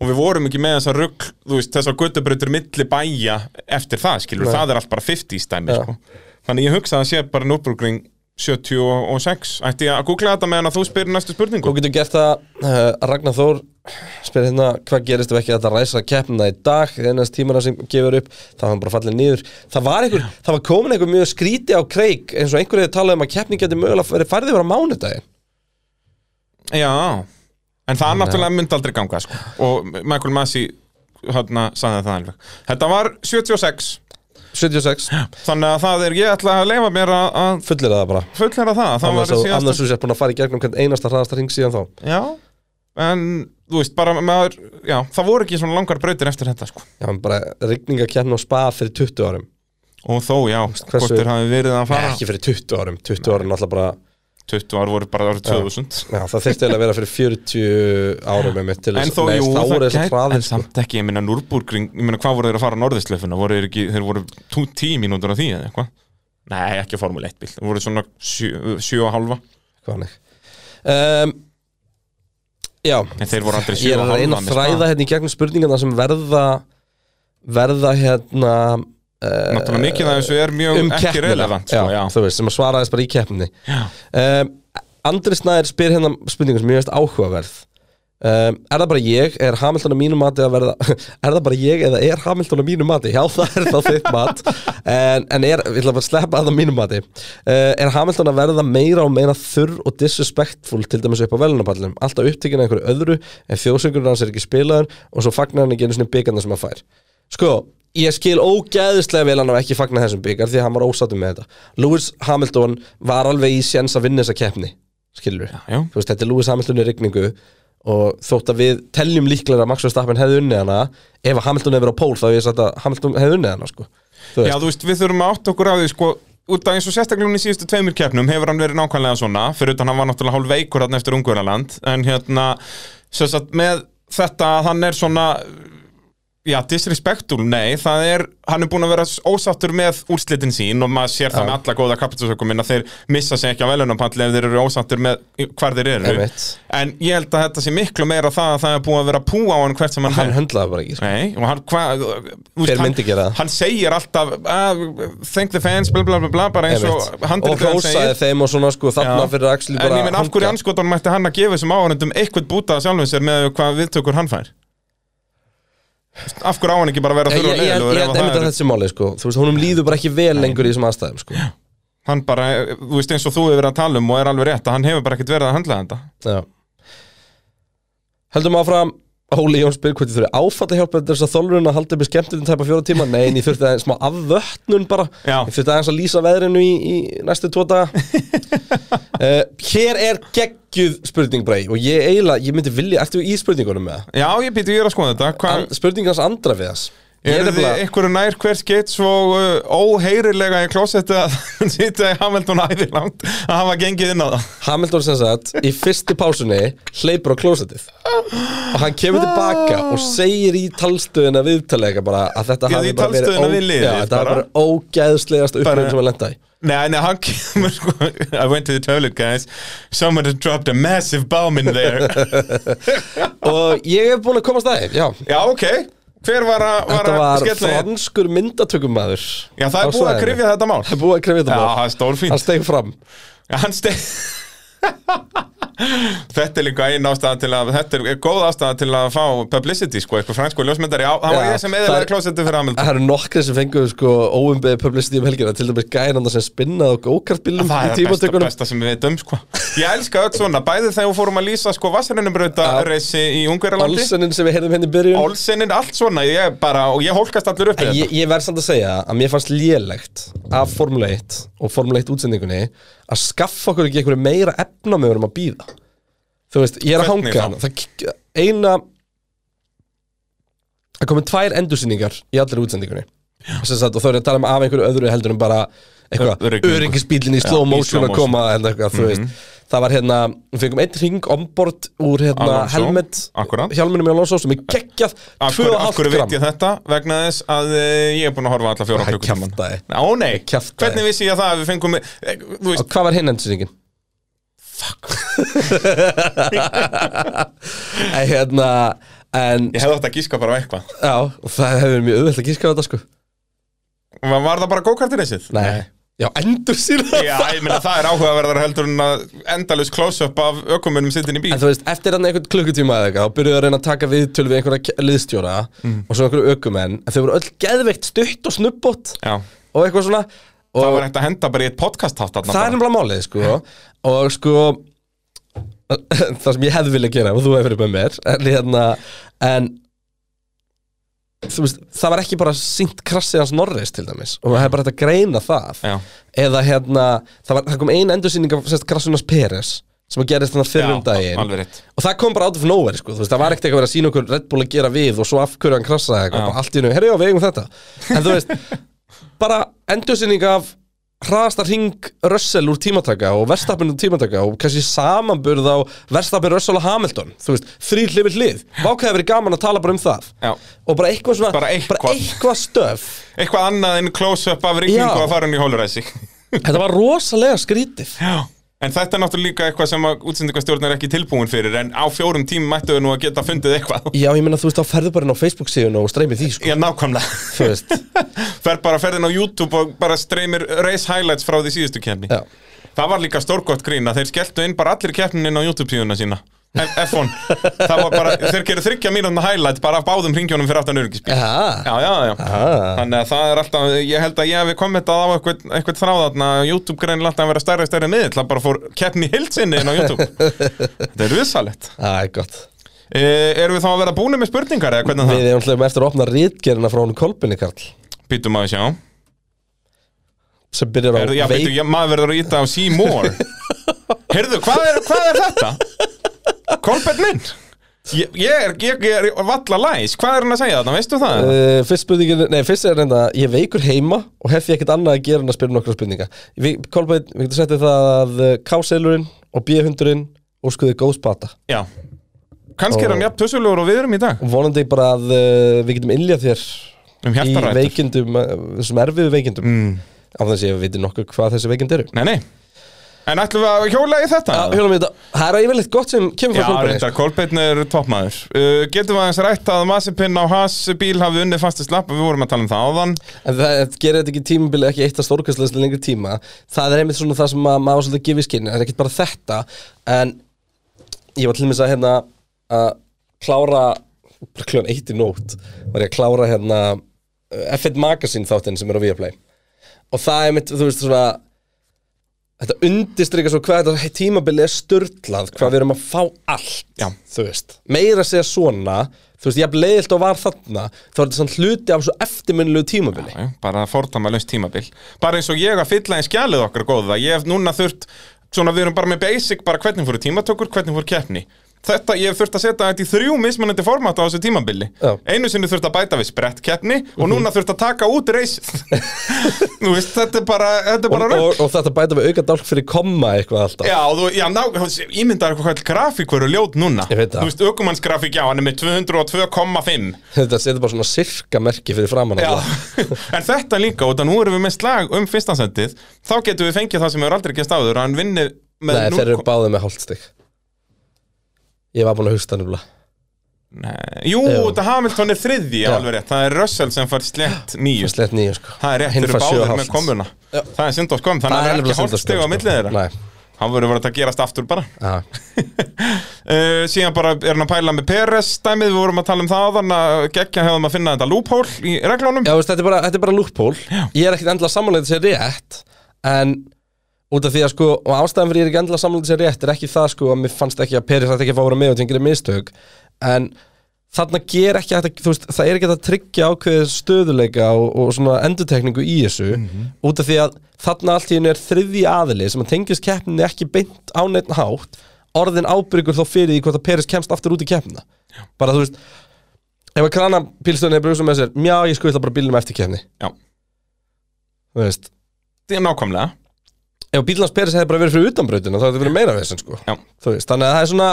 S2: og við vorum ekki með þessar rugg, þú veist, þessar guttubrautur milli bæja eftir það, skilur,
S3: Nei.
S2: það er allt bara 50s dæmi,
S3: Já.
S2: sko. Þannig ég hugsa að sé bara núbrugring 76 Ætti ég að googla þetta meðan að þú spyrir næstu spurningu?
S3: Þú getur gert það, uh, Ragnar Þór spyr hérna, hvað gerist ef ekki þetta ræsa keppnina í dag, einast tímana sem gefur upp, það var hann bara fallið niður það var einhver, það var komin einhver mjög skríti á kreik, eins og einhverju talaði um að keppning geti mögulega verið færði vera mánudaginn
S2: Já, en það náttúrulega myndi aldrei ganga, sko Og Michael Massey, hérna, sagði það alveg Þetta var 76
S3: 76,
S2: Þannig að það er, ég ætla að leifa mér að, að
S3: fullir það bara
S2: fullera það, það
S3: annars
S2: var
S3: þú
S2: síðast
S3: annars þú sér búin að fara í gegnum hvern einasta hraðasta ring síðan þá
S2: já, en þú veist bara maður, já, það voru ekki svona langar brautir eftir þetta sko,
S3: já, en bara rigningakeppn og spa fyrir 20 árum
S2: og þó já
S3: hversu-
S2: hvort þeir hafi verið að fara,
S3: ekki fyrir 20 árum, 20 árum alltaf bara
S2: 20 ár voru bara árið 2000
S3: já, það þurfti eiginlega að vera fyrir 40 árum einmitt til
S2: En
S3: þess-
S2: þó,
S3: nei,
S2: jú,
S3: þá
S2: það
S3: voru þessar
S2: gæti,
S3: hraðir,
S2: en
S3: sko.
S2: samt ekki, ég minna Núrburgring, ég minna hvað voru þeir að fara norðislefuna, voru þeir ekki, þeir voru tú, tíu mínútur af því eða eitthvað? Nei, ekki að formule 1 bíl, þeir voru svona sjö, sjö og halva,
S3: Hvað hann um, Já,
S2: en þeir voru aldrei
S3: ég
S2: sjö
S3: er að
S2: og halva
S3: reyna að
S2: með
S3: þræða hérna í gegnum spurningarna sem verða verða hérna
S2: Spa.
S3: uh,
S2: Náttúrulega mikið af þessu er mjög
S3: um
S2: ekki
S3: keppnina
S2: relevant, sko, já,
S3: þú veist, sem að svara þess bara í Ehm, keppni
S2: já.
S3: um, Andri Snæður spyr hérna spurningum sem ég veist áhugaverð Um, er það bara ég, er Hamilton að mínu mati að verða, er það bara ég eða er Hamilton að mínu mati, já það er það þitt mat en, en er, við ætla bara að sleppa að það mínu mati, uh, er Hamilton að verða meira og meira þurr og disrespectful til dæmis upp á velunapallinum, alltaf upptíkin einhverju öðru, en þjóðsöngurinn hans er ekki spilaður og svo fagnar hann ekki einu sinni byggandar sem hann fær sko, ég skil ógæðislega vel hann á ekki fagnar þessum byggar því að hann var ósattum með þetta Lewis Hamilton var alveg í séns að vinna þessa keppni skilur við,
S2: já.
S3: þú veist, þetta er Lewis Hamilton í rigningu og þótt að við teljum líklega að Max Verstappen hefði unnið hana ef að Hamilton hefði verið á pól þá hefði ég sagt að Hamilton hefði unnið hana sko. Þú
S2: Já,
S3: veist,
S2: þú veist, við þurfum að átta okkur á því sko, út af eins og sérstaklega hún í síðustu tveimur keppnum hefur hann verið nákvæmlega svona, fyrir utan hann var náttúrulega hálf veikur hann eftir Ungverjaland, en hérna sem sagt, með þetta að hann er svona já, disrespektul, nei, það er hann er búin að vera ósáttur með úrslitin sín og maður sér það með alla góða kapitalsökum að þeir missa sig ekki á velunarpalli ef þeir eru ósáttur með hvar þeir eru
S3: Einmitt.
S2: en ég held að þetta sé miklu meira það að það er búin að vera pú á hann hvert sem hann,
S3: hann
S2: fer.
S3: höndlaði bara ekki sko.
S2: Nei, og hann hvað
S3: Hver myndi gera það?
S2: Hann segir alltaf uh, Thank the fans, bla bla bla, bla bara eins og
S3: Einmitt. og
S2: handritið hans
S3: hrósaði þeim og svona sko, þarna
S2: Já.
S3: fyrir Axli
S2: En
S3: bara
S2: ég minn af hverju
S3: hanga.
S2: anskotanum ætti hann að gefa þessum áhörundum eitthvað búta af sjálfum sér með hvað viðtökur hann fær Af hverju á hann ekki bara að vera
S3: Ég
S2: þurr og
S3: ég- ég held
S2: leiðilegur ef
S3: einmitt
S2: að
S3: að
S2: það
S3: þetta
S2: er-
S3: sé máli sko. Þú veist, honum líður bara ekki vel lengur í þessum aðstæðum sko.
S2: Hann bara, eh, þú veist eins og þú hefur verið að tala um og er alveg rétt að hann hefur bara ekkert verið að handla þetta
S3: Já. Höldum áfram Óli Jón spyr hvort ég þurfi áfatt að hjálpa þess að þólurinn að halda upp í skemmtunum tæpa fjóra tíma Nei, en ég þurfti aðeins smá afvötnun bara
S2: Já.
S3: Ég þurfti aðeins að lýsa veðrinu í, í næstu tvo daga uh, Hér er geggjuð spurning brei Og ég eiginlega, ég myndi vilja, ertu í spurningunum með það?
S2: Já, ég býtu, ég er að skoða þetta Hvað,
S3: An- Spurning hans andra við þess Ég er
S2: Eru þið
S3: nefnilega-
S2: einhverju nær hver skeitt svo uh, óheyrilega í klósetti að hann sitja í Hamilton æði langt að hafa gengið inn á það?
S3: Hamilton sem sagt í fyrstu pásunni hleypur á klósettið og hann kemur tilbaka og segir í talstöðina viðtalega bara að þetta
S2: Já,
S3: hafi
S2: í
S3: bara verið
S2: talstöðina
S3: ó-
S2: við liðið
S3: já, þetta hafi
S2: bara.
S3: bara ógæðslegast upplifin sem hann lenda í
S2: Nei, nei, hann kemur sko I went to the toilet guys Someone has dropped a massive bomb in there
S3: og ég er búin að komast það já
S2: Já, ok Hver var að, var
S3: Þetta
S2: að
S3: var
S2: skella í-
S3: franskur myndatökumæður
S2: Já, það er búið að krifja þetta mál
S3: Það er búið að hérna. krifja
S2: Já,
S3: þetta
S2: það
S3: mál
S2: er stórfínt
S3: Hann steig fram
S2: Já, hann steig Þetta er líka ein ástæða til að Þetta er góð ástæða til að fá publicity sko, eitthvað fransku ljósmyndari Já, það var
S3: Já,
S2: ég sem
S3: það er-
S2: eðalega klósetti fyrir Hamilton
S3: Það eru nokkri sem fengu sko óumbeðið publicity um helgina til dæmis gæðinanda sem spinnaði á go-kartbílum
S2: Það
S3: í
S2: er besta,
S3: tímatökunum
S2: besta sem við veitum sko. Ég elska öll svona, bæði þegar við fórum að lýsa sko, Vassarinnumbrauta
S3: Já.
S2: reysi í Ungverjalandi
S3: Olsenin sem við heyrðum henni í byrjun
S2: Olsenin, allt svona, ég bara og ég hólkast allur upp í
S3: En
S2: þetta
S3: ég, ég verð samt að segja að mér fannst lélegt af Formule 1 og Formule 1 útsendingunni að skaffa okkur ekki einhverju meira efna með um að býða þú veist, ég er að
S2: Hvernig
S3: hanga hana það k- eina það komið tvær endursýningar í allir útsendingunni Sem sagt, og þau eru að tala um af einhverju öðru heldur en bara
S2: Ö-
S3: eitthvað
S2: öryggingu.
S3: öryggisbílinn í slow
S2: í slow
S3: motion að
S2: motion. Mhm.
S3: koma hérna, eitthvað, þú veist það var hérna, við fengum einn ring ombord úr hérna
S2: Alonso,
S3: helmet
S2: akkúrat.
S3: hjálminum í Alonso sem er geggjað
S2: Af
S3: 2,5
S2: hverju,
S3: gram
S2: af hverju veit ég þetta? Vegna þess að e, ég er búin að horfa alla fjóra
S3: Það er
S2: klukkutíman
S3: kjaftaði.
S2: Ó nei,
S3: kjaftaði.
S2: hvernig vissi ég það að við fengum e, Þú
S3: Og
S2: veist,
S3: hvað var hinn endursýningin? Fuck En hérna En
S2: ég hefði átt að gíska bara á eitthvað
S3: já, það hefur verið mjög auðvelt að gíska á þetta sko
S2: Var, var það bara gókartineysið?
S3: Nei Já, endur sína
S2: Já, ég meina það er áhugaverðar heldur en að endalus close-up af ökumunum sittin í bíl
S3: En þú veist, eftir hann einhvern klukkutíma eða eitthvað þá byrjuðu að reyna að taka viðtöl við einhverja ke- liðstjóra og svo einhverju ökumenn en þau voru öll geðveikt stutt og snubbót
S2: Já,
S3: og eitthvað svona og
S2: það var hægt að henda bara í eitt podcast hátt
S3: það er nefnilega málið sko og sko það sem ég hefði viljað gera og þú hefur verið með mér en hérna en þú veist, það var ekki bara sínt krassið hans Norris til dæmis og það hefði bara hægt að greina það
S2: Já.
S3: eða hérna, það, var, það kom ein endursýning af sérst krassunas Peres sem að gerist þannig fyrir um daginn
S2: alveg rétt
S3: og það kom bara out of nowhere sko, þú veist, það var ekkert eitthvað verið að sína okkur Red Bull að gera við og svo af hverju hann krassaði eitthvað,
S2: Já.
S3: bara allt í hennu, herri já, við eigum þetta en þú veist, bara endursynning af hraðasta ring Russell úr tímataka og Verstappen úr tímataka og kannski samanburð á Verstappen, Russell og Hamilton þú veist, þrýr hlifir hlið, vákæði verið gaman að tala bara um það
S2: Já.
S3: og bara eitthvað svona,
S2: Bara eitthvað.
S3: eitthvað stöf
S2: Eitthvað annað en close-up af rigningu
S3: Já.
S2: að fara hann í hóluræsi
S3: þetta var rosalega skrítið
S2: En þetta er náttúrulega líka eitthvað sem að útsendingastjórn er ekki tilbúin fyrir En á fjórum tímum mættu við nú að geta fundið eitthvað
S3: já, ég meina, þú veist, þá ferðu bara inn á Facebook síðun og streymið því, sko,
S2: Já, nákvæmlega
S3: þú veist
S2: Fer bara ferðin á YouTube og bara streymir race highlights frá því síðustu kemni
S3: já.
S2: Það var líka stórgott grín að þeir skelltu inn bara allir keppnin inn á YouTube síðuna sína F- F1 Það var bara, þeir gerir þryggja mínúna highlight bara af báðum ringjónum fyrir aftan öryggisbíl
S3: Já,
S2: Já, já, já
S3: já
S2: Þannig að það er alltaf, ég held að ég hefði kommentað á eitthvað, eitthvað þráðarna YouTube greinilega alltaf að vera stærri og stærri miðill Það bara fór keppni í heild sinni inn á YouTube Þetta er risalett
S3: Það er gott
S2: e, Erum við þá að vera búnir með spurningar eða hvernig
S3: Við
S2: það?
S3: erum alltaf eftir að opna rítgerina frá hún Kolbinni Karl
S2: Býtum að sjá
S3: sem byrjar á
S2: Heyrðu, já,
S3: veit-
S2: býtum, já, maður verður að íta á See More Heyrðu, hvað er, hvað er þetta? Kolbett minn Ég, ég, er, ég, ég er valla læs Hvað er hann að segja þarna, veistu það?
S3: Uh, fyrst spurningin, nei, fyrst er reynda ég er veikur heima og hef ég ekkert annað að gera en að spyrja nokkra spurninga við, Kolbeinn, við getum settið það að uh, K-seilurinn og B-hundurinn óskuðu góð spata
S2: Já Kannski er hann jafn tussulegur og við erum í dag
S3: og vonandi bara að uh, við getum innlega þér
S2: Um
S3: í
S2: hjartarætur.
S3: veikindum, uh, þessum erfiðu veikindum mm. á þess að ég veitir nokkuð hvað þessi veikind eru
S2: Nei, nei En ætlum við að hjóla í þetta?
S3: Hjólum við þetta, það er yfirleitt gott sem kemur
S2: Já,
S3: frá Kolbeinn
S2: reyndar, Kolbeinn er toppmaður uh, Getum við aðeins rætt að Masipinn á Haas bíl hafi unnið fastist lapp Við vorum að tala um það áðan
S3: En það það gerir þetta ekki tímabili ekki eitt að stórkastlega til lengri tíma Það er einmitt svona það sem að maður svolítið gefið skynni Það er ekkert bara þetta En ég var til dæmis að hérna að klára bara kljóðan eitt í nót var ég að klára hérna eh, F1 Magazine þáttinn sem er á Viaplay og það er mitt, þú veist svona þetta undistrykar svo hvað þetta tímabili er störtlað hvað við erum að fá allt
S2: Já.
S3: þú veist, meira að segja svona þú veist, ég hef leiðilt og var þarna þá er þetta svona hluti af svo eftirminnilegu tímabili
S2: Já, bara fordama laust tímabil bara eins og ég að fylla einn skjalið okkar góða ég hef núna þurft, svona við erum bara með basic bara hvernig fóru tímatökur, hvernig fóru keppni þetta, ég hef þurft að setja þetta í þrjú mismunandi format á þessu tímabili
S3: Já.
S2: einu sinni þurft að bæta við sprett keppni og núna þurft að taka út reysið þú veist, þetta er bara, þetta er
S3: og,
S2: bara
S3: og,
S2: rögg
S3: og þetta bæta við auka dálk fyrir komma eitthvað alltaf
S2: Já, þú, já, ná, ímyndaður hvað all grafík verður ljót núna
S3: Ég veit það.
S2: Þú veist, ökumannsgrafík, já, hann er með 202,5
S3: þetta setur bara svona sirka merki fyrir framann
S2: Já,
S3: alla.
S2: en þetta líka og það nú erum við með slag um fyrstansendið þá getum við fengið það sem hefur aldrei gæst áður að hann vinni með
S3: Nei,
S2: núll-
S3: þeir eru báðið með hálfstig Ég var búin að hugsta nefnilega
S2: Nei, Jú,
S3: Já.
S2: þetta Hamilton er þriðji
S3: Já.
S2: alveg rétt, það er Russell sem fær slett nýju,
S3: Slett nýju sko
S2: það er rétt,
S3: Hinn
S2: þeir eru
S3: fær sjö og
S2: báðir
S3: hálft.
S2: með komuna
S3: Já.
S2: það er synd og skömm,
S3: Það
S2: þannig að
S3: er
S2: það er
S3: nefnilega
S2: ekki
S3: synd að
S2: hálfsteg á
S3: skoða,
S2: millið þeirra
S3: Nei,
S2: hann verður verið að gerast aftur bara
S3: já,
S2: uh, síðan bara er hann að pæla með Peres dæmið, við vorum að tala um það þannig að geggja hefðum að finna þetta loophole í reglunum
S3: já veist, þetta, er bara, þetta er bara lúppól Ég er ekkit endilega samanlega sér rétt En út af því að sko Og ástæðan fyrir ég er ekki endilega samanlega sér rétt Er ekki það sko að mér fannst ekki að Peris Þetta ekki að fá að vera með og tengri mistök En þarna ger ekki hægt að þú veist, Það er ekki hægt að tryggja ákveðið stöðuleika Og, og svona endurtekningu í þessu Út af því að þarna allt í hennu er þriðji aðili Sem að tengist keppninni ekki beint á neitt hátt Orðin ábyrgur þó fyrir því hvort að Peris kemst aftur út í keppnina Bara þú veist Ef að krana bílstöðinni er brugsa með sér Mjá, ég skuðla bara bílnum eftir kefni
S2: já,
S3: Þú veist
S2: þetta er nákvæmlega
S3: Ef bílans Peris hefði bara verið fyrir utanbrautina Þá hefði verið meira vesinn sko
S2: Já.
S3: Þú veist, þannig að það er svona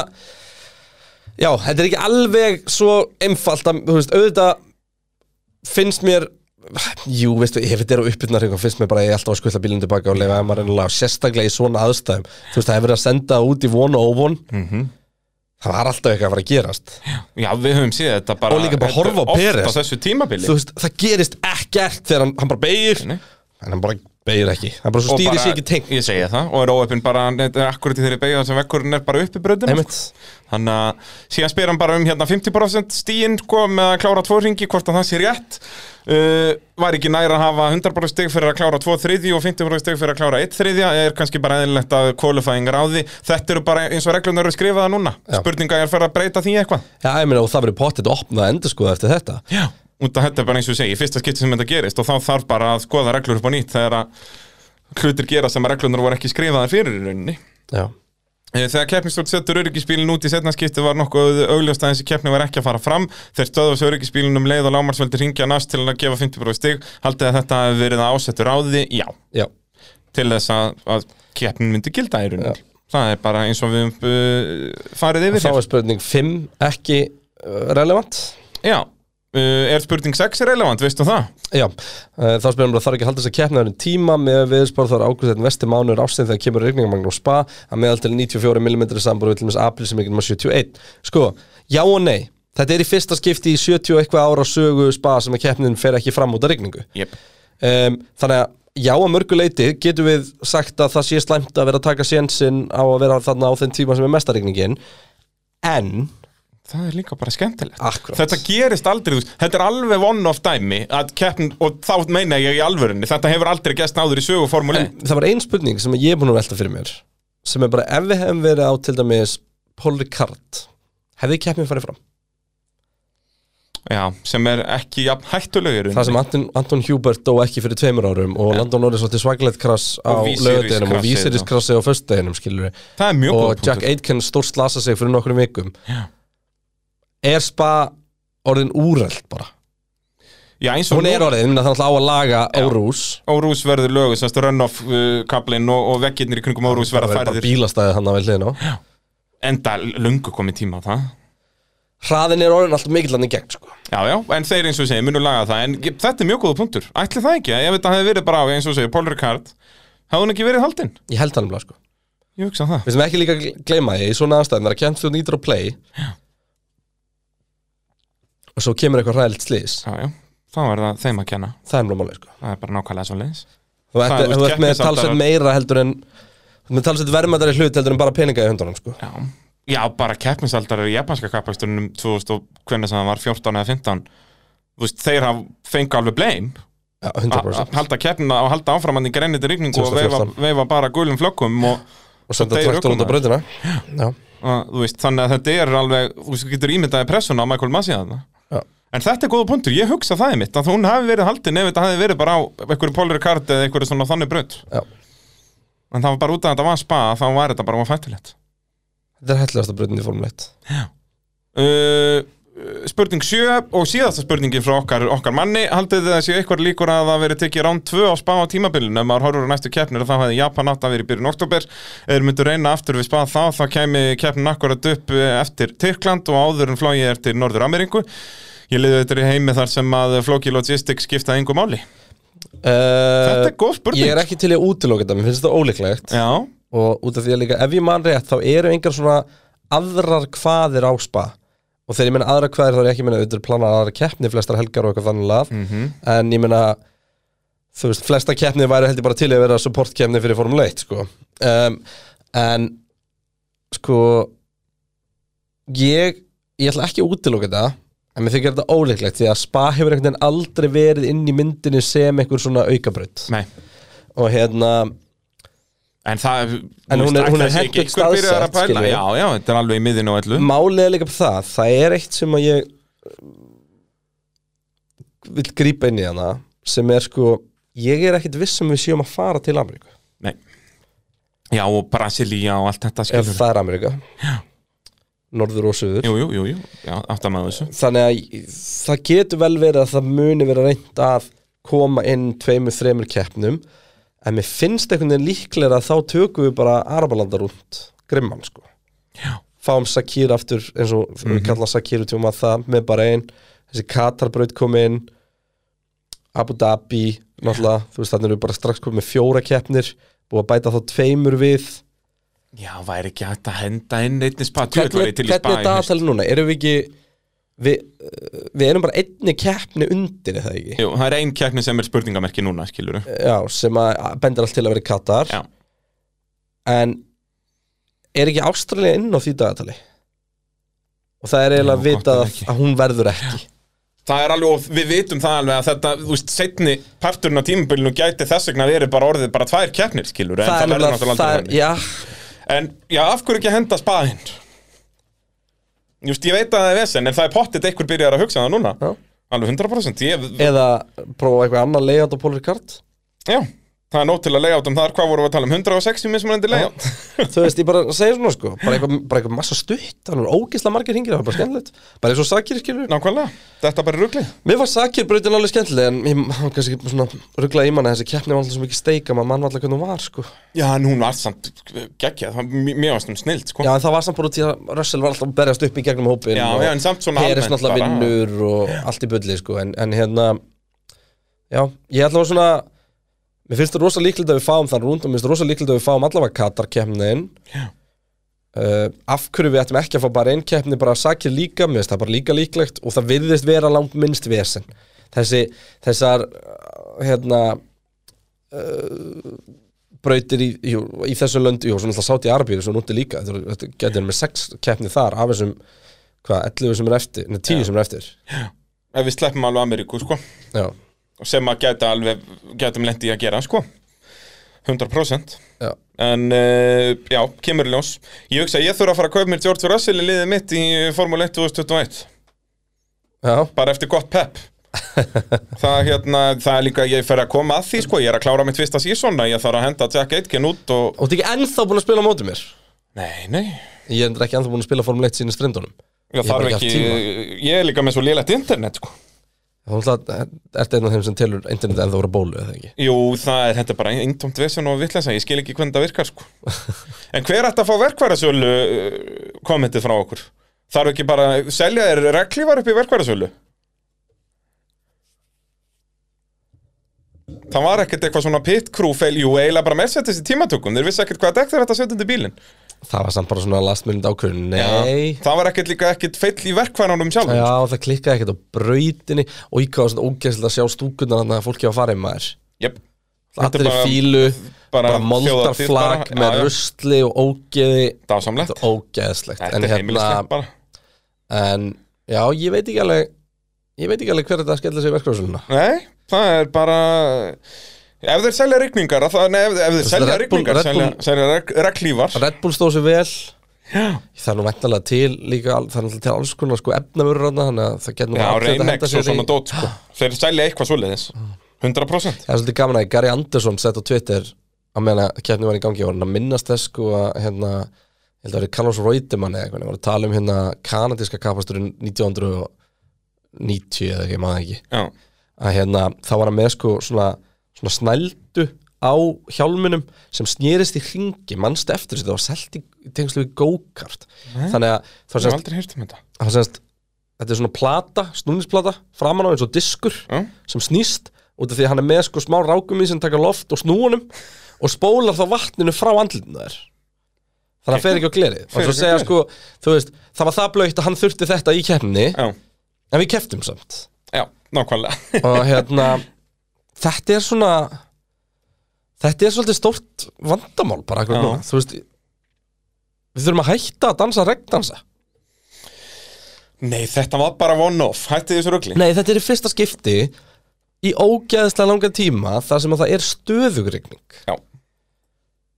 S3: Já, þetta er ekki alveg svo einfalt að, Þú veist, auðvitað Finnst mér Jú, veistu, ef þetta er á uppbyrna hringum Finnst mér bara að ég alltaf að skuðla bílnum tilbaka Og leifa MR ennilega sérstaklega í svona aðstæðum Þú veist, það hefur verið að senda út í von og óvon
S2: Mhm.
S3: Það var alltaf eitthvað að fara að gerast
S2: Já, við höfum séð þetta bara
S3: Og líka bara
S2: þetta er
S3: horfa á
S2: oft
S3: Perez.
S2: á þessu tímabili
S3: Þú veist, það gerist ekkert þegar hann, hann bara beigir
S2: Nei.
S3: En hann bara beigir ekki Hann bara svo
S2: Og
S3: stýri
S2: bara-
S3: sér ekki tengt
S2: Ég segja það, og er óöppin bara þetta er akkurat í þeirri beigja sem vekkurinn er bara uppi bröðin
S3: Einmitt.
S2: Þannig að síðan spyr hann bara um hérna 50% stíin sko, með að klára tvo ringi, hvort að það sé rétt uh, Var ekki næra að hafa 100% stig fyrir að klára tvo þriðji og 50% stig fyrir að klára eitt þriðja er kannski bara eðlilegt að kvalifæðingar á því Þetta eru bara eins og reglunar eru skrifaða núna
S3: Já.
S2: Spurninga er fyrir að breyta því eitthvað
S3: Já, ég meina, og það verið pottet að opna að enda skoða eftir þetta
S2: Já, út að þetta er bara eins og ég segi, í fyrsta skipti sem þetta gerist og þá þarf bara að skoða reglur upp á nýtt þegar að hlutir gera sem að reglunar voru ekki skrifaðar fyrir í rauninni.
S3: Já,
S2: Eh, Þegar keppnistjórn setur öryggisbílinn út í setna skipti var nokkuð augljóst að þessi keppni var ekki að fara fram þeir stöðu þessu öryggisbílinn um leið og lámarsveldi ringja næst til að gefa 50 bróð stig haldið að þetta hafi verið að ásettu ráði, já
S3: já,
S2: til þess að, að keppnin myndi gilda í rauninni. Það er bara eins og við höfum, uh, farið yfir
S3: þá er spurning 5 ekki uh, relevant
S2: Já, uh, er spurning 6 relevant, veistu það?
S3: Já, uh, þá spyrum við að þarf ekki að halda þess að keppna þenni tíma með viðspor þar águst þetta vesti mánuður ásinn þegar kemur regningmagn og spa að meðal til 94 mm sambor við til þess april sem ekki um 71 Sko, já og nei, þetta er í fyrsta skipti í 70 og eitthvað ára sögu spa sem að keppnin fer ekki fram út af regningu
S2: Yep.
S3: um, Þannig að já að mörgu leiti getum við sagt að það sé slæmt að vera að taka sénsinn á að vera þarna á þeim tíma sem er mestarregningin en
S2: það er líka bara skemmtilegt
S3: Akkurat.
S2: þetta gerist aldrei, þú veist, þetta er alveg one-off dæmi að keppn, og þá meina ég í alvörunni þetta hefur aldrei gæst náður í sögu formúli
S3: það var ein spurning sem ég er búin að velta fyrir mér sem er bara ef við hefum verið á til dæmis Paul Ricard hefði keppin farið fram
S2: já, sem er ekki jafn hættulegur
S3: það sem Anton, Anton Hubert dó ekki fyrir tveimur árum og Landon Norris átti svaglegt krass á
S2: Og Vísiris
S3: lögadeginum og
S2: krassið,
S3: vísiris
S2: já.
S3: krassi á föstudeginum skilur við
S2: það er mjög góð
S3: og Jack
S2: punktur
S3: Aitken stórt slasa sig fyrir nokkrum vikum
S2: Já.
S3: er spa orðin úrælt bara
S2: já, eins og
S3: hún er orðin, minna, það er alltaf á að laga árús
S2: Órús verður lögu, semst runoff uh, kablin og, og veggirnir í kringum Órús
S3: það
S2: verða
S3: er bara
S2: færðir
S3: bílastæði hann að vel hliðin á hérna.
S2: enda lungu komið tíma á það
S3: hraðin er orðin alltaf mikill hann í gegn sko.
S2: Já, já, en þeir eins og segja, munu laga það en ég- þetta er mjög góða punktur, ætli það ekki ef þetta hefði verið bara á, eins og segja, Paul Ricard hafði hún ekki verið haldinn,
S3: ég held hann um sko.
S2: ég hugsa það
S3: Við sem ekki líka gl- gleyma því, í svona aðstæðum þegar kemst þú nýtur að play og svo kemur eitthvað ræðilegt slís
S2: Já, já, þá er það þeim að kenna
S3: það er mjög máli sko.
S2: það er bara nákvæmlega svo leiðis
S3: þú
S2: Það er,
S3: ert, þú ert
S2: þú veist,
S3: með
S2: keppnisáttarar.
S3: talsveit meira heldur en þú ert með talsveit verðmættari hlut heldur en bara peninga í höndunum sko.
S2: Já, já bara keppnisaldar í japanska kappakstunum 2000 og hvernig sem það var 14 eða 15 Þú veist, þeir hafa fengið alveg blame
S3: ja,
S2: að að
S3: 100%
S2: halda keppnina og halda áframandi greinandi rigningu og veifa,
S3: 2014.
S2: veifa bara gulum flokkum og,
S3: og senda
S2: deyr
S3: traktor út á
S2: ökumaður.
S3: bröðina já.
S2: og, þú veist, þannig að þetta er alveg þú veist, þú getur ímyndaði pressuna á Michael Masi þarna
S3: Já.
S2: En þetta er góða punktur, ég hugsa það mitt að hún hafi verið haldin ef þetta hafi verið bara á einhverju pólari kart eða einhverju svona þannig braut
S3: Já.
S2: En það var bara út af að þetta var spa þá var þetta bara fættilegt
S3: þetta er hættilegasta bröðin í Formule 1
S2: Uh, spurning 7 og síðasta spurningin frá okkar, okkar manni haldið þið að séu eitthvað líkur að það verið tekið rán 2 á spá á tímabilinu, ef maður horfur á næstu keppnir þá hefði Japan átt að verið í byrjun oktober ef þeir myndu reyna aftur við spá þá þá kemi keppnin akkurat upp eh, eftir Tyrkland og áður en flóið er til Norður Ameríku ég liði þetta í heimi þar sem að flóki logistics skiptaði engu máli Þetta
S3: uh,
S2: er góð spurning
S3: ég er ekki til í að útiloka þetta mér finnst þetta ólíklegt
S2: Já,
S3: og út af því að líka ef ég man rétt þá eru engar svona aðrar hvaðir á spa og þegar ég menna aðrar hvaðir þá er ég ekki að meina auðvitað planar aðra keppni flestar helgar og eitthvað þannig lað en ég menna þú veist, flesta keppni væri heldur bara til að vera support keppni fyrir Formule 1 sko. um, en sko ég ég ætla ekki að útiloka þetta en mér þykir þetta óleiklegt því að spa hefur einhvern veginn aldrei verið inn í myndinni sem einhver svona aukabraut
S2: nei
S3: og hérna
S2: En það,
S3: En hún er- hún er hentugt staðsett,
S2: staðsett
S3: skilur við.
S2: Já, já, þetta er alveg í miðinu og allu
S3: Málið er líka það, það er eitt sem að ég vil grípa inn í hana sem er sko, ég er ekkit viss sem við séum að fara til Ameríku
S2: Nei Já og Brasilia og allt þetta
S3: ef
S2: skilur
S3: það er Ameríka Norður og Suður
S2: Jú, jú, jú, jú, já, átt að maður þessu
S3: Þannig að það getur vel verið að það muni vera reynd að koma inn tveimur, þreimur keppnum en mér finnst einhvern veginn líklega að þá tökum við bara Arabalanda rúnt grimman sko
S2: Já. Mhm.
S3: fáum Sakir aftur eins og við kalla Sakir út um að það með bara einn þessi Katarbraut komin Abu Dhabi náttúrulega, þú veist þannig erum við bara strax komið með fjóra keppnir búið að bæta þá tveimur við
S2: Já, væri ekki hægt að henda inn einni spa Tjöfull var ég
S3: hvernig,
S2: til í spa
S3: hvernig er
S2: í haust.
S3: dagatalið núna? Erum við ekki við, uh, við erum bara einni keppni undir er það ekki?
S2: Jú, það er ein keppni sem er spurningamerki núna, skilur
S3: Já, sem að að bendir allt til að vera í Katar
S2: Já.
S3: en er ekki Ástralja inn á því dagatali? og það er eiginlega að
S2: Já, gott
S3: vita
S2: ef
S3: að,
S2: ekki.
S3: að hún verður ekki
S2: Það er alveg, og við vitum það alveg að þetta, þú veist, setni parturinn á tímabilinu gæti þess vegna verið bara orðið bara tvær keppnir, skilur En
S3: það er
S2: það verður
S3: nefnilega
S2: náttúrulega
S3: það er,
S2: aldrei þannig
S3: já,
S2: En, já, af hverju ekki að henda spa inn? Just, ég veit að það er vesen, en það er pottit einhver byrjar að hugsa það núna
S3: Já.
S2: Alveg 100% ég,
S3: eða prófa eitthvað annað layout á Polar Card
S2: Já, það er nót til að layout um þar, hvað vorum við að tala um 160 mismunandi layout
S3: þú veist, ég bara segi svona sko bara eitthvað, bara eitthvað massa stutt, hann er ógisla margir hringir það er bara skemmtilegt, bara eins og sakir skilur
S2: Nákvæmlega, þetta er bara ruglið
S3: Mér var sakir brautin alveg skemmtileg en ég hann var kannski svona rugglaði í manna þessi keppni var alltaf svo mikið steika maður mann var alltaf hvernig hún var sko
S2: Já, en hún var samt geggjað, það var mjög varst hún snild sko.
S3: Já en það var samt bara út í að Russell var alltaf að berjast upp í gegnum hópin
S2: Já,
S3: og
S2: já, en samt svona
S3: Peres
S2: almennt
S3: náttúrulega
S2: bara.
S3: vinnur og allt í bulli sko en, en hérna Já, ég ætla að svona Mér finnst það rosa líklegt að við fáum þann rúnd og mér finnst það rosa líklegt að við fáum allavega Katar keppnin
S2: Já.
S3: Uh, af hverju við ættum ekki að fá bara einn keppni bara sakir líka, mér finnst það bara líka líklegt og það virðist vera langt minnst vesen eh, þessi, þessar uh, hérna brautir í, í, í þessu lönd jú, svona alltaf sátt í Arbíu, þessu núti líka þetta, eru- þetta getur með sex keppni þar af þessum, hvað, 11 sem er eftir neða 10 sem er eftir
S2: ef við sleppum alveg Ameríku sko
S3: já,
S2: sem að gæta alveg gætum lendi að gera sko 100%
S3: já,
S2: en uh, já, kemur í ljós ég hugsa að ég þurfa að fara að kaupa mér George Russell í liðið mitt í Formule 1 2021
S3: já,
S2: bara eftir gott pepp það, hérna, það er líka ég fer að koma að því sko, ég er að klára mitt fyrsta sísón ég þarf að henda Jack Aitken út og
S3: og þetta er ekki ennþá búin að spila á móti mér
S2: nei, nei,
S3: ég er ekki ennþá búin að spila Formule 1 sín í strindunum Ég
S2: ég,
S3: hef
S2: þarf
S3: bara
S2: ekki
S3: ekki haft
S2: ég er líka með svo lélegt internet sko.
S3: þá er þetta eh, einn af þeim sem telur internet ennþá voru bólu eða ekki
S2: jú, það er, þetta er bara eintómt vesen og vitleisa, ég skil ekki hvernig það virkar sko. en hver ætti að fá verkværasölu uh, kommentið frá okkur þarf ekki bara að selja þér reglívar upp í verkværasölu Það var ekkert eitthvað svona pit crew fail, jú, eiginlega bara Mercedes í tímatökum, þeir vissi ekkert hvað dekk þeir ættu að setja undir bílinn.
S3: það var samt bara svona last minute ákvörðin nei,
S2: Það var ekkert líka ekkert feill í verkvæðanum sjálf
S3: já, það klikkaði ekkert á brautinni og ég káði svona ógæslega að sjá stúkunar þannig að fólki var að fara í maður
S2: yep. Þetta er
S3: allir í
S2: bara-
S3: fílu,
S2: bara
S3: bara, bara
S2: þjóðartíð bara,
S3: moldarflag
S2: já,
S3: með
S2: já.
S3: rusli og ógeði
S2: Dásamlegt
S3: þetta er ógeðslegt
S2: Þetta
S3: en hérna-
S2: er heimilislegt bara
S3: en já, ég veit ekki alveg ég veit ekki alveg hver þetta skellir sig í verkefnarslunna
S2: Nei, það er bara Ef þeir selja rigningar að það, nei, ef, ef þeir
S3: veist,
S2: selja
S3: Red Bull-
S2: rigningar
S3: Red
S2: selja,
S3: Bull-
S2: selja reg, reglívar
S3: Red Bull stóð sér vel já. það er nú væntalega til líka al- það er náttúrulega til alls konar sko efnavörur þarna, þannig að það getur nú
S2: Já,
S3: allir þetta henda
S2: Reynex og
S3: sér í
S2: svona dót sko. Þeir selja eitthvað svoleiðis 100%
S3: það er svolítið gaman að Gary Anderson sett á Twitter að meina keppni var í gangi og hann að minnast þess sko að hérna ég held að það er Carlos Reutemann eða eitthvað, hann var að tala um hérna kanadíska kapasturinn 1990 eða ekki, ég maður ekki
S2: Já,
S3: að hérna, þá var hann með sko svona, svona snældu á hjálmunum sem snerist í hringi mannst eftir þessu, það var selt í í tengslu við go-kart þannig að það var
S2: ég hef
S3: semst,
S2: aldrei hýrt um þetta
S3: það var semst þetta er svona plata, snúningsplata framan á eins og diskur
S2: Já.
S3: sem snýst út af því að hann er með sko smá rákum í sem taka loft og snúunum og spólar þá vatninu frá andlutinu þær þannig að hann fer ekki á glerið og
S2: Fer
S3: svo
S2: ekki á
S3: segja
S2: glerið.
S3: sko, þú veist, það var það blöitt að hann þurfti þetta í keppni
S2: Já,
S3: en við keftum samt
S2: já, nákvæmlega
S3: og hérna þetta er svona þetta er svolítið stórt vandamál bara akkur
S2: Já.
S3: núna, þú veist við þurfum að hætta að dansa regndansa
S2: Nei, þetta var bara one-off, hætti þessu rugli
S3: nei, þetta er í fyrsta skipti í ógeðslega langan tíma þar sem að það er stöðugregning
S2: Já,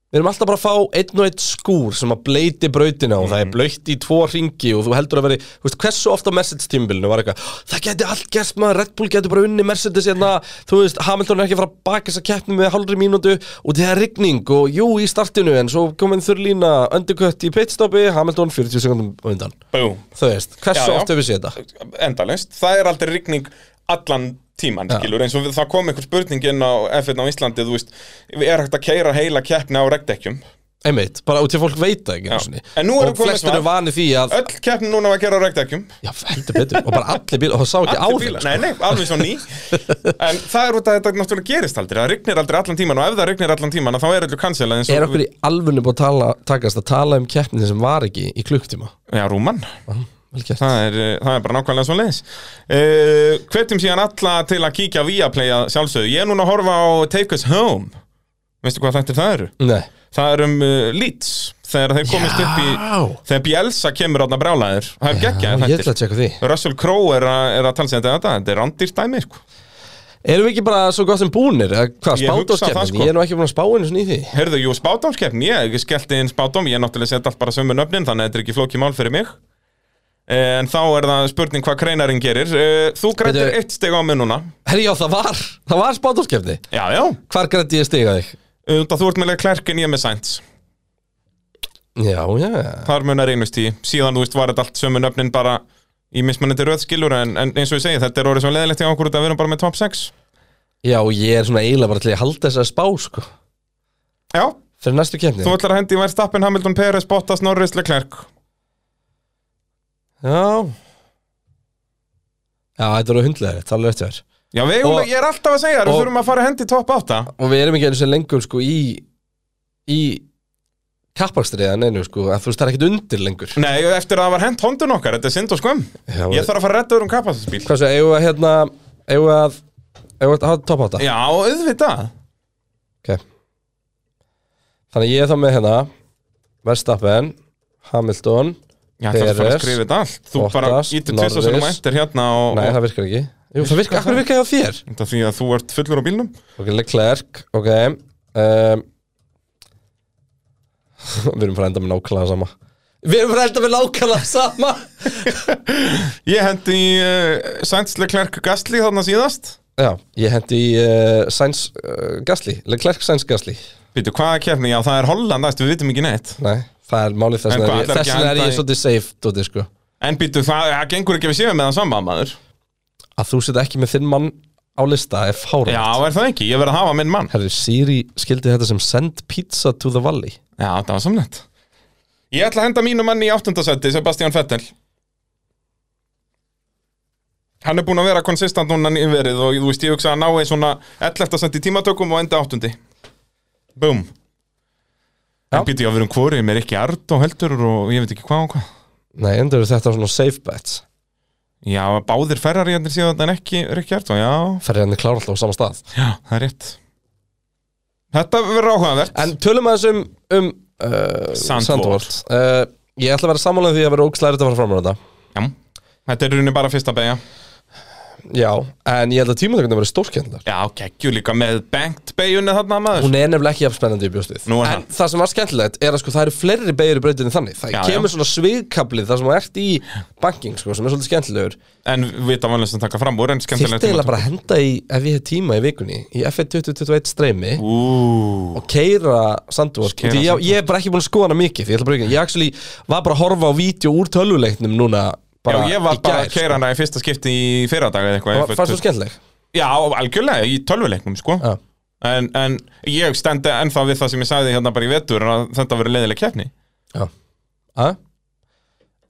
S3: við erum alltaf bara að fá einn og einn skúr sem að bleiti brautina og
S2: Mhm.
S3: það er blöytt í tvo ringi og þú heldur að veri, þú veist, hversu ofta Mercedes tímbilinu var eitthvað, það geti allt gerst maður, Red Bull geti bara unni Mercedes hérna, þú veist, Hamilton er ekki að fara að baka þessa keppni með hálfri mínútu og það er rigning og jú í startinu en svo komin þurrlína undercut í pitstopi, Hamilton 40 sekundum undan,
S2: bú
S3: þú veist, hversu
S2: Já, já.
S3: ofta við séð þetta?
S2: endalaust, það er aldrei rigning allan tíman, skilur, eins og við- það kom einhver spurning inn á F1 á Íslandi, þú veist er hægt að keira heila keppni á regdekkjum
S3: Einmitt, bara út til að fólk veita ekki einu sinni.
S2: En nú erum
S3: og
S2: komin
S3: flestir
S2: þar.
S3: eru vanið því að,
S2: öll keppni núna var að gera á regdekkjum
S3: já, heldur betur og bara allir bílar, og það sá ekki
S2: Allir
S3: áhrif
S2: bílar-
S3: sko.
S2: Nei, nei, alveg svo ný En það er út að þetta náttúrulega gerist aldrei Það rignir aldrei allan tíman og ef það rignir allan tíman þá er öllu kanselað eins og
S3: Er okkur í alvunni búið að tala, takast að tala um keppni sem var ekki í klukktíma?
S2: Já, Rúman,
S3: Vel gert.
S2: það er, eh, það er bara nákvæmlega svo leiðis uh, Hvetjum síðan alla til að kíkja via playa sjálfsögðu Ég er núna að horfa á Take Us Home Veistu hvað þetta það eru?
S3: Nei.
S2: Það er um uh, Leeds Þegar þeir komist upp í
S3: Já.
S2: Þegar Bielsa kemur átna brjálæður Það er
S3: Já,
S2: geggjað
S3: ég ætla
S2: þetta
S3: að tjekka því.
S2: Russell Crowe er, að- er að tala sér þetta Þetta er randýrt dæmi sko.
S3: Erum við ekki bara svo gott sem búnir? eða Hvað,
S2: Ég hugsa það,
S3: spátóskeppni?
S2: sko.
S3: Ég er nú ekki búin að spá henni svona í því.
S2: Herðu, jú, spátámskeppn, ég skellti inn spátám Ég er náttúrulega sett allt bara sömu nöfnin Þannig að þetta er ekki flókið mál fyrir mig En þá er það spurning hvað kreinarinn gerir Eh, Þú grættir
S3: Bíddu.
S2: eitt steg á mig núna
S3: Herri, já, það var, það var spátóskeppni.
S2: Já, já
S3: Hvar grætti ég stiga þig?
S2: Unda, Þú ert með klerkin, ég með sænt
S3: Já, já.
S2: Þar munar einu stí Síðan, þú veist, var þetta allt sömu nöfnin bara Í mismunandi röðskilur En, en eins og ég segi, þetta er orðið svo leðilegt í okkur út að Við erum bara með top 6
S3: Já, ég er svona eiginlega bara til að halda þess að spá, sko.
S2: Já,
S3: Fyrir næstu keppni.
S2: þú ætlar að hendi Verstappen, Hamilton, Peres, Bottas, Norris, Leclerc
S3: Já. Já, þetta eru hundlega, þetta er alveg eftir þér.
S2: Já, við, og,
S3: Og-
S2: ég er alltaf að segja þér, við
S3: og-
S2: þurfum að fara að hendi top 8
S3: og við erum ekki eins og lengur sko í í kappakstriða neinu sko að þú veist það er ekkert undir lengur
S2: Nei, eftir að það var hent hóndun okkar, þetta er synd og skömm
S3: Já,
S2: Ég þarf að fara að redda þér um kapasinsbíl
S3: hvað svo, eigum við að hérna eigum við að eigum við að hafa topp á þetta
S2: Já, auðvitað
S3: ok Þannig að ég er þá með hérna Verstappen, Hamilton
S2: Já, það er að fara að
S3: Perez,
S2: skrifa þetta allt Þú bara
S3: Bottas,
S2: ítir tvisvar sem
S3: Norris.
S2: mættir hérna og,
S3: Nei,
S2: og
S3: það virkar ekki Jú, það virkar, akkur virkar það á þér
S2: þetta því að þú ert fullur á bílnum
S3: Ok, Leclerc, ok um, Við erum frænda með nákvæmlega sama Við erum frænda með nákvæmlega sama
S2: Ég hendi í uh, Sainz Leclerc Gastli þarna síðast
S3: Já, ég hendi í uh, Sainz uh, Gasly, Leclerc Sainz Gasly
S2: Býtu, hvað er kefni? Já, það er Holland, æst, við vitum ekki neitt
S3: Nei, það er málið þess
S2: En
S3: vegna
S2: hvað,
S3: er ég-
S2: ætlar ekki
S3: Þess vegna
S2: að
S3: er ég
S2: henda í-
S3: svolítið safe, Dóti, sko
S2: En býtu, það, það gengur ekki að við séum með það sama, maður
S3: Að þú setja ekki með þinn mann á lista er fárað
S2: Já, er það ekki? Ég verð að hafa minn mann
S3: Herri, Siri skildi þetta sem send pizza to the valley
S2: Já, það var samlegt Ég ætla að henda mínu manni í áttundasætti, Sebastian Vettel Hann er búinn að vera konsistant núna nýverið og þú veist, ég hugsa að hann nái svona 11. sætti tímatökum og enda áttundi Búm
S3: Já.
S2: En býtu, ég að vera um hvorið mér ekki art og heldur og ég veit ekki hvað og hvað
S3: Nei, endur þetta svona safe bets
S2: Já, báðir ferrar ég síðan en ekki, ekki art og já,
S3: Ferri henni hérna klára alltaf á sama stað
S2: já, það er rétt Þetta verður áhugavert
S3: En tölum aðeins um, um uh,
S2: Sandvort.
S3: uh, Ég ætla að vera sammála um því að vera ógstlega erfitt að fara fram á þetta
S2: Já, þetta er rauninni bara fyrsta beigja
S3: Já, en ég held að tímatökundin verið stórkendlar
S2: Já, geggjur líka með bengt beigjunni þarna maður
S3: Hún er nefnilega ekki jafn spennandi í bjóstið
S2: Nú er
S3: En það sem var skemmtilegt er að sko, það eru fleiri beigir í breytinni þannig Það
S2: Já,
S3: kemur svona sviðkablið þar sem þú ert í banking sko, sem er svolítið skemmtilegur
S2: En vita vanlega sem taka fram úr en skemmtilega
S3: Þyrfti eiginlega bara að henda í, ef ég hef tíma í vikunni í F1 2021 streymi
S2: Ú,
S3: og keira Sandvort
S2: Keyra
S3: Því ég, ég er bara ekki búin að skoða hana mikið því ég, ætla bara ekki- ég actually var bara að horfa á vídeo úr tölvuleiknum núna bara
S2: já ég var
S3: í
S2: bara að
S3: gær,
S2: keira hana í fyrsta skipti í fyrradag eða
S3: Það
S2: eitthvað ég
S3: var-
S2: fór-
S3: fannst þú skemmtileg?
S2: Já, algjörlega, í tölvuleiknum sko
S3: Já.
S2: en, en ég stendi ennþá við það sem ég sagði hérna bara í vetur að þetta verið leiðileg keppni
S3: Já. Að?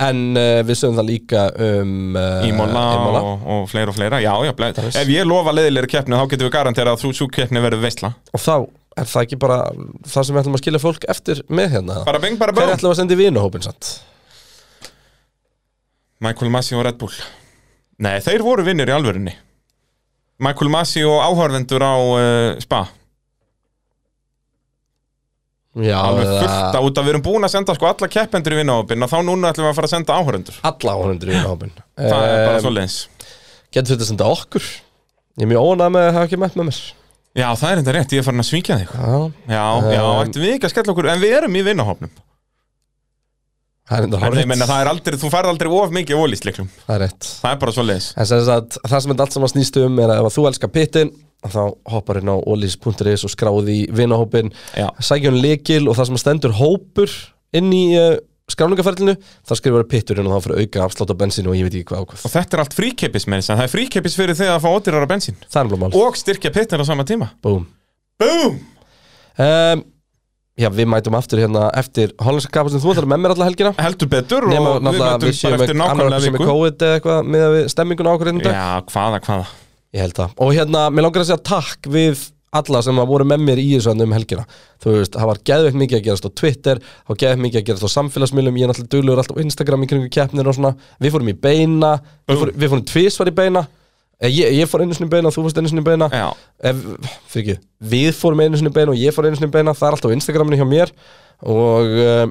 S3: En uh, við sögum það líka um uh,
S2: Í Móla
S3: Imola.
S2: og, og fleira og fleira Já, já, blei,
S3: veist.
S2: ef ég lofa leiðilegri keppni þá getum við garantera að þú svo keppni verður veistla
S3: Og þá er það ekki bara það sem við ætlum að skilja fólk eftir með hérna
S2: Bara bing, bara
S3: Hver
S2: bó
S3: ætlum við að senda í vinuhópin samt?
S2: Michael Massi og Red Bull Nei, þeir voru vinnir í alvörinni Michael Massi og áhörvendur á uh, Spa
S3: Já,
S2: alveg
S3: eða
S2: fullt að út að við erum búin að senda sko alla keppendur í vinahópin og þá núna ætlum við að fara að senda áhörundur
S3: alla áhundur í vinuhópin
S2: það er bara
S3: um,
S2: svoleiðis
S3: Getur þetta að senda okkur? Ég er mjög óanað með að hafa ekki mætt með mér
S2: já það er enda rétt, ég er farin að svíkja þig já,
S3: Já,
S2: já,
S3: Um,
S2: ættum við ekki að skella okkur en við erum í vinahópnum
S3: það er enda
S2: en ég
S3: hárið
S2: menna það er aldrei, þú færð aldrei of mikið ólýsleiklum,
S3: Það er rétt
S2: það er bara svoleiðis
S3: En sem sagt, það sem þetta allt saman snýst um er að ef þú elskar pittin þá hoppar inn á olis.is og skráði í vinahópin
S2: Já.
S3: sækjum lekil og það sem stendur hópur inn í uh, skráningaferlinu það skrifar pitturinn og þá fyrir auka afslátt á bensinu og ég veit ekki hvað ákvað
S2: og þetta er allt fríkeppis með þess að það er fríkeppis fyrir þig að fá ódýrara bensín
S3: Það er alveg mál
S2: og styrkja pittin á sama tíma
S3: Búm
S2: Búm!
S3: um, Já, við mætum aftur hérna eftir Hollandska kapastin Þú ætlar með mér alla helgina
S2: heldur betur og
S3: Nefna
S2: við
S3: náttúrulega að
S2: mötum
S3: við séum
S2: bara eftir
S3: annar
S2: nákvæmlega
S3: sem er
S2: viku
S3: COVID eða eitthvað með við stemminguna á okkur hérna í dag.
S2: já, hvaða, hvaða
S3: Ég held það. Og hérna, mér langar að segja takk við alla sem að voru með mér í þessu hann um helgina. Þú veist, það var geðveikt mikið að gerast á Twitter, þá geðveikt mikið að gerast á samfélagsmiðlum, ég er náttúrulega duglur alltaf á Instagram í kringu keppnir og svona. Við fórum í beina, við fórum, við fórum tvisvar í beina, Eh, ég, ég fór einu sinni í beina, þú fórst einu sinni í beina.
S2: Já.
S3: Ef, fyrir ekki, við fórum einu sinni í beina og ég fór einu sinni í beina, það er alltaf á Instagraminu hjá mér og uh,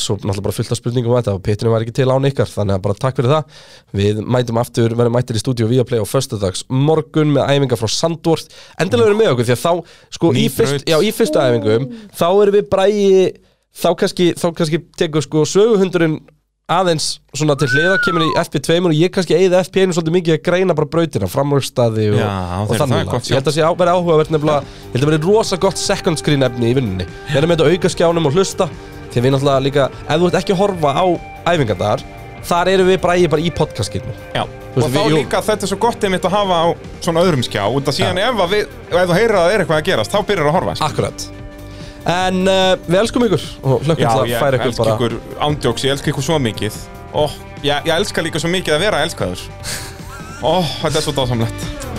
S3: svo náttúrulega bara fullt af spurningum um þetta og pitturinn var ekki til án ykkar þannig að bara takk fyrir það við mætum aftur, verðum mættir í stúdíu via play á föstudags morgun með æfingar frá Sandvort endilega verðum með okkur því að þá sko, í,
S2: Ný
S3: fyrst,
S2: braut.
S3: já, í fyrstu æfingum þá erum við bræði þá kannski, þá kannski tekur sko söguhundurinn aðeins svona til hliða kemur í FP2 og ég kannski eigði FP1 svolítið mikið að greina bara brautina, framrökstaði og,
S2: Já,
S3: og
S2: þeir- það er
S3: þannig
S2: gott
S3: ég held að sé á- verið áhugavert nefnilega ég held að verið rosa gott second screen efni í vinnunni við erum með þetta á aukaskjánum og hlusta því að við náttúrulega líka, ef þú ert ekki að horfa á æfingarnar, þar eru við bræði bara í podcastskirnum
S2: Já,
S3: veist,
S2: og þá
S3: við- jú.
S2: líka þetta er svo gott einmitt að hafa á svona öðrum skjá út að síðan ef, að við, ef þú heyrir að það er eitthvað að gerast þá byrjar að horfa sko.
S3: akkurat en uh, við elskum ykkur og hlökkum
S2: Já,
S3: til að
S2: ég
S3: færa ykkur
S2: elska
S3: bara
S2: ykkur ándjóks, ég elska ykkur svo mikið og ég, ég elska líka svo mikið að vera elskaður Ó, þetta er svo dásamlegt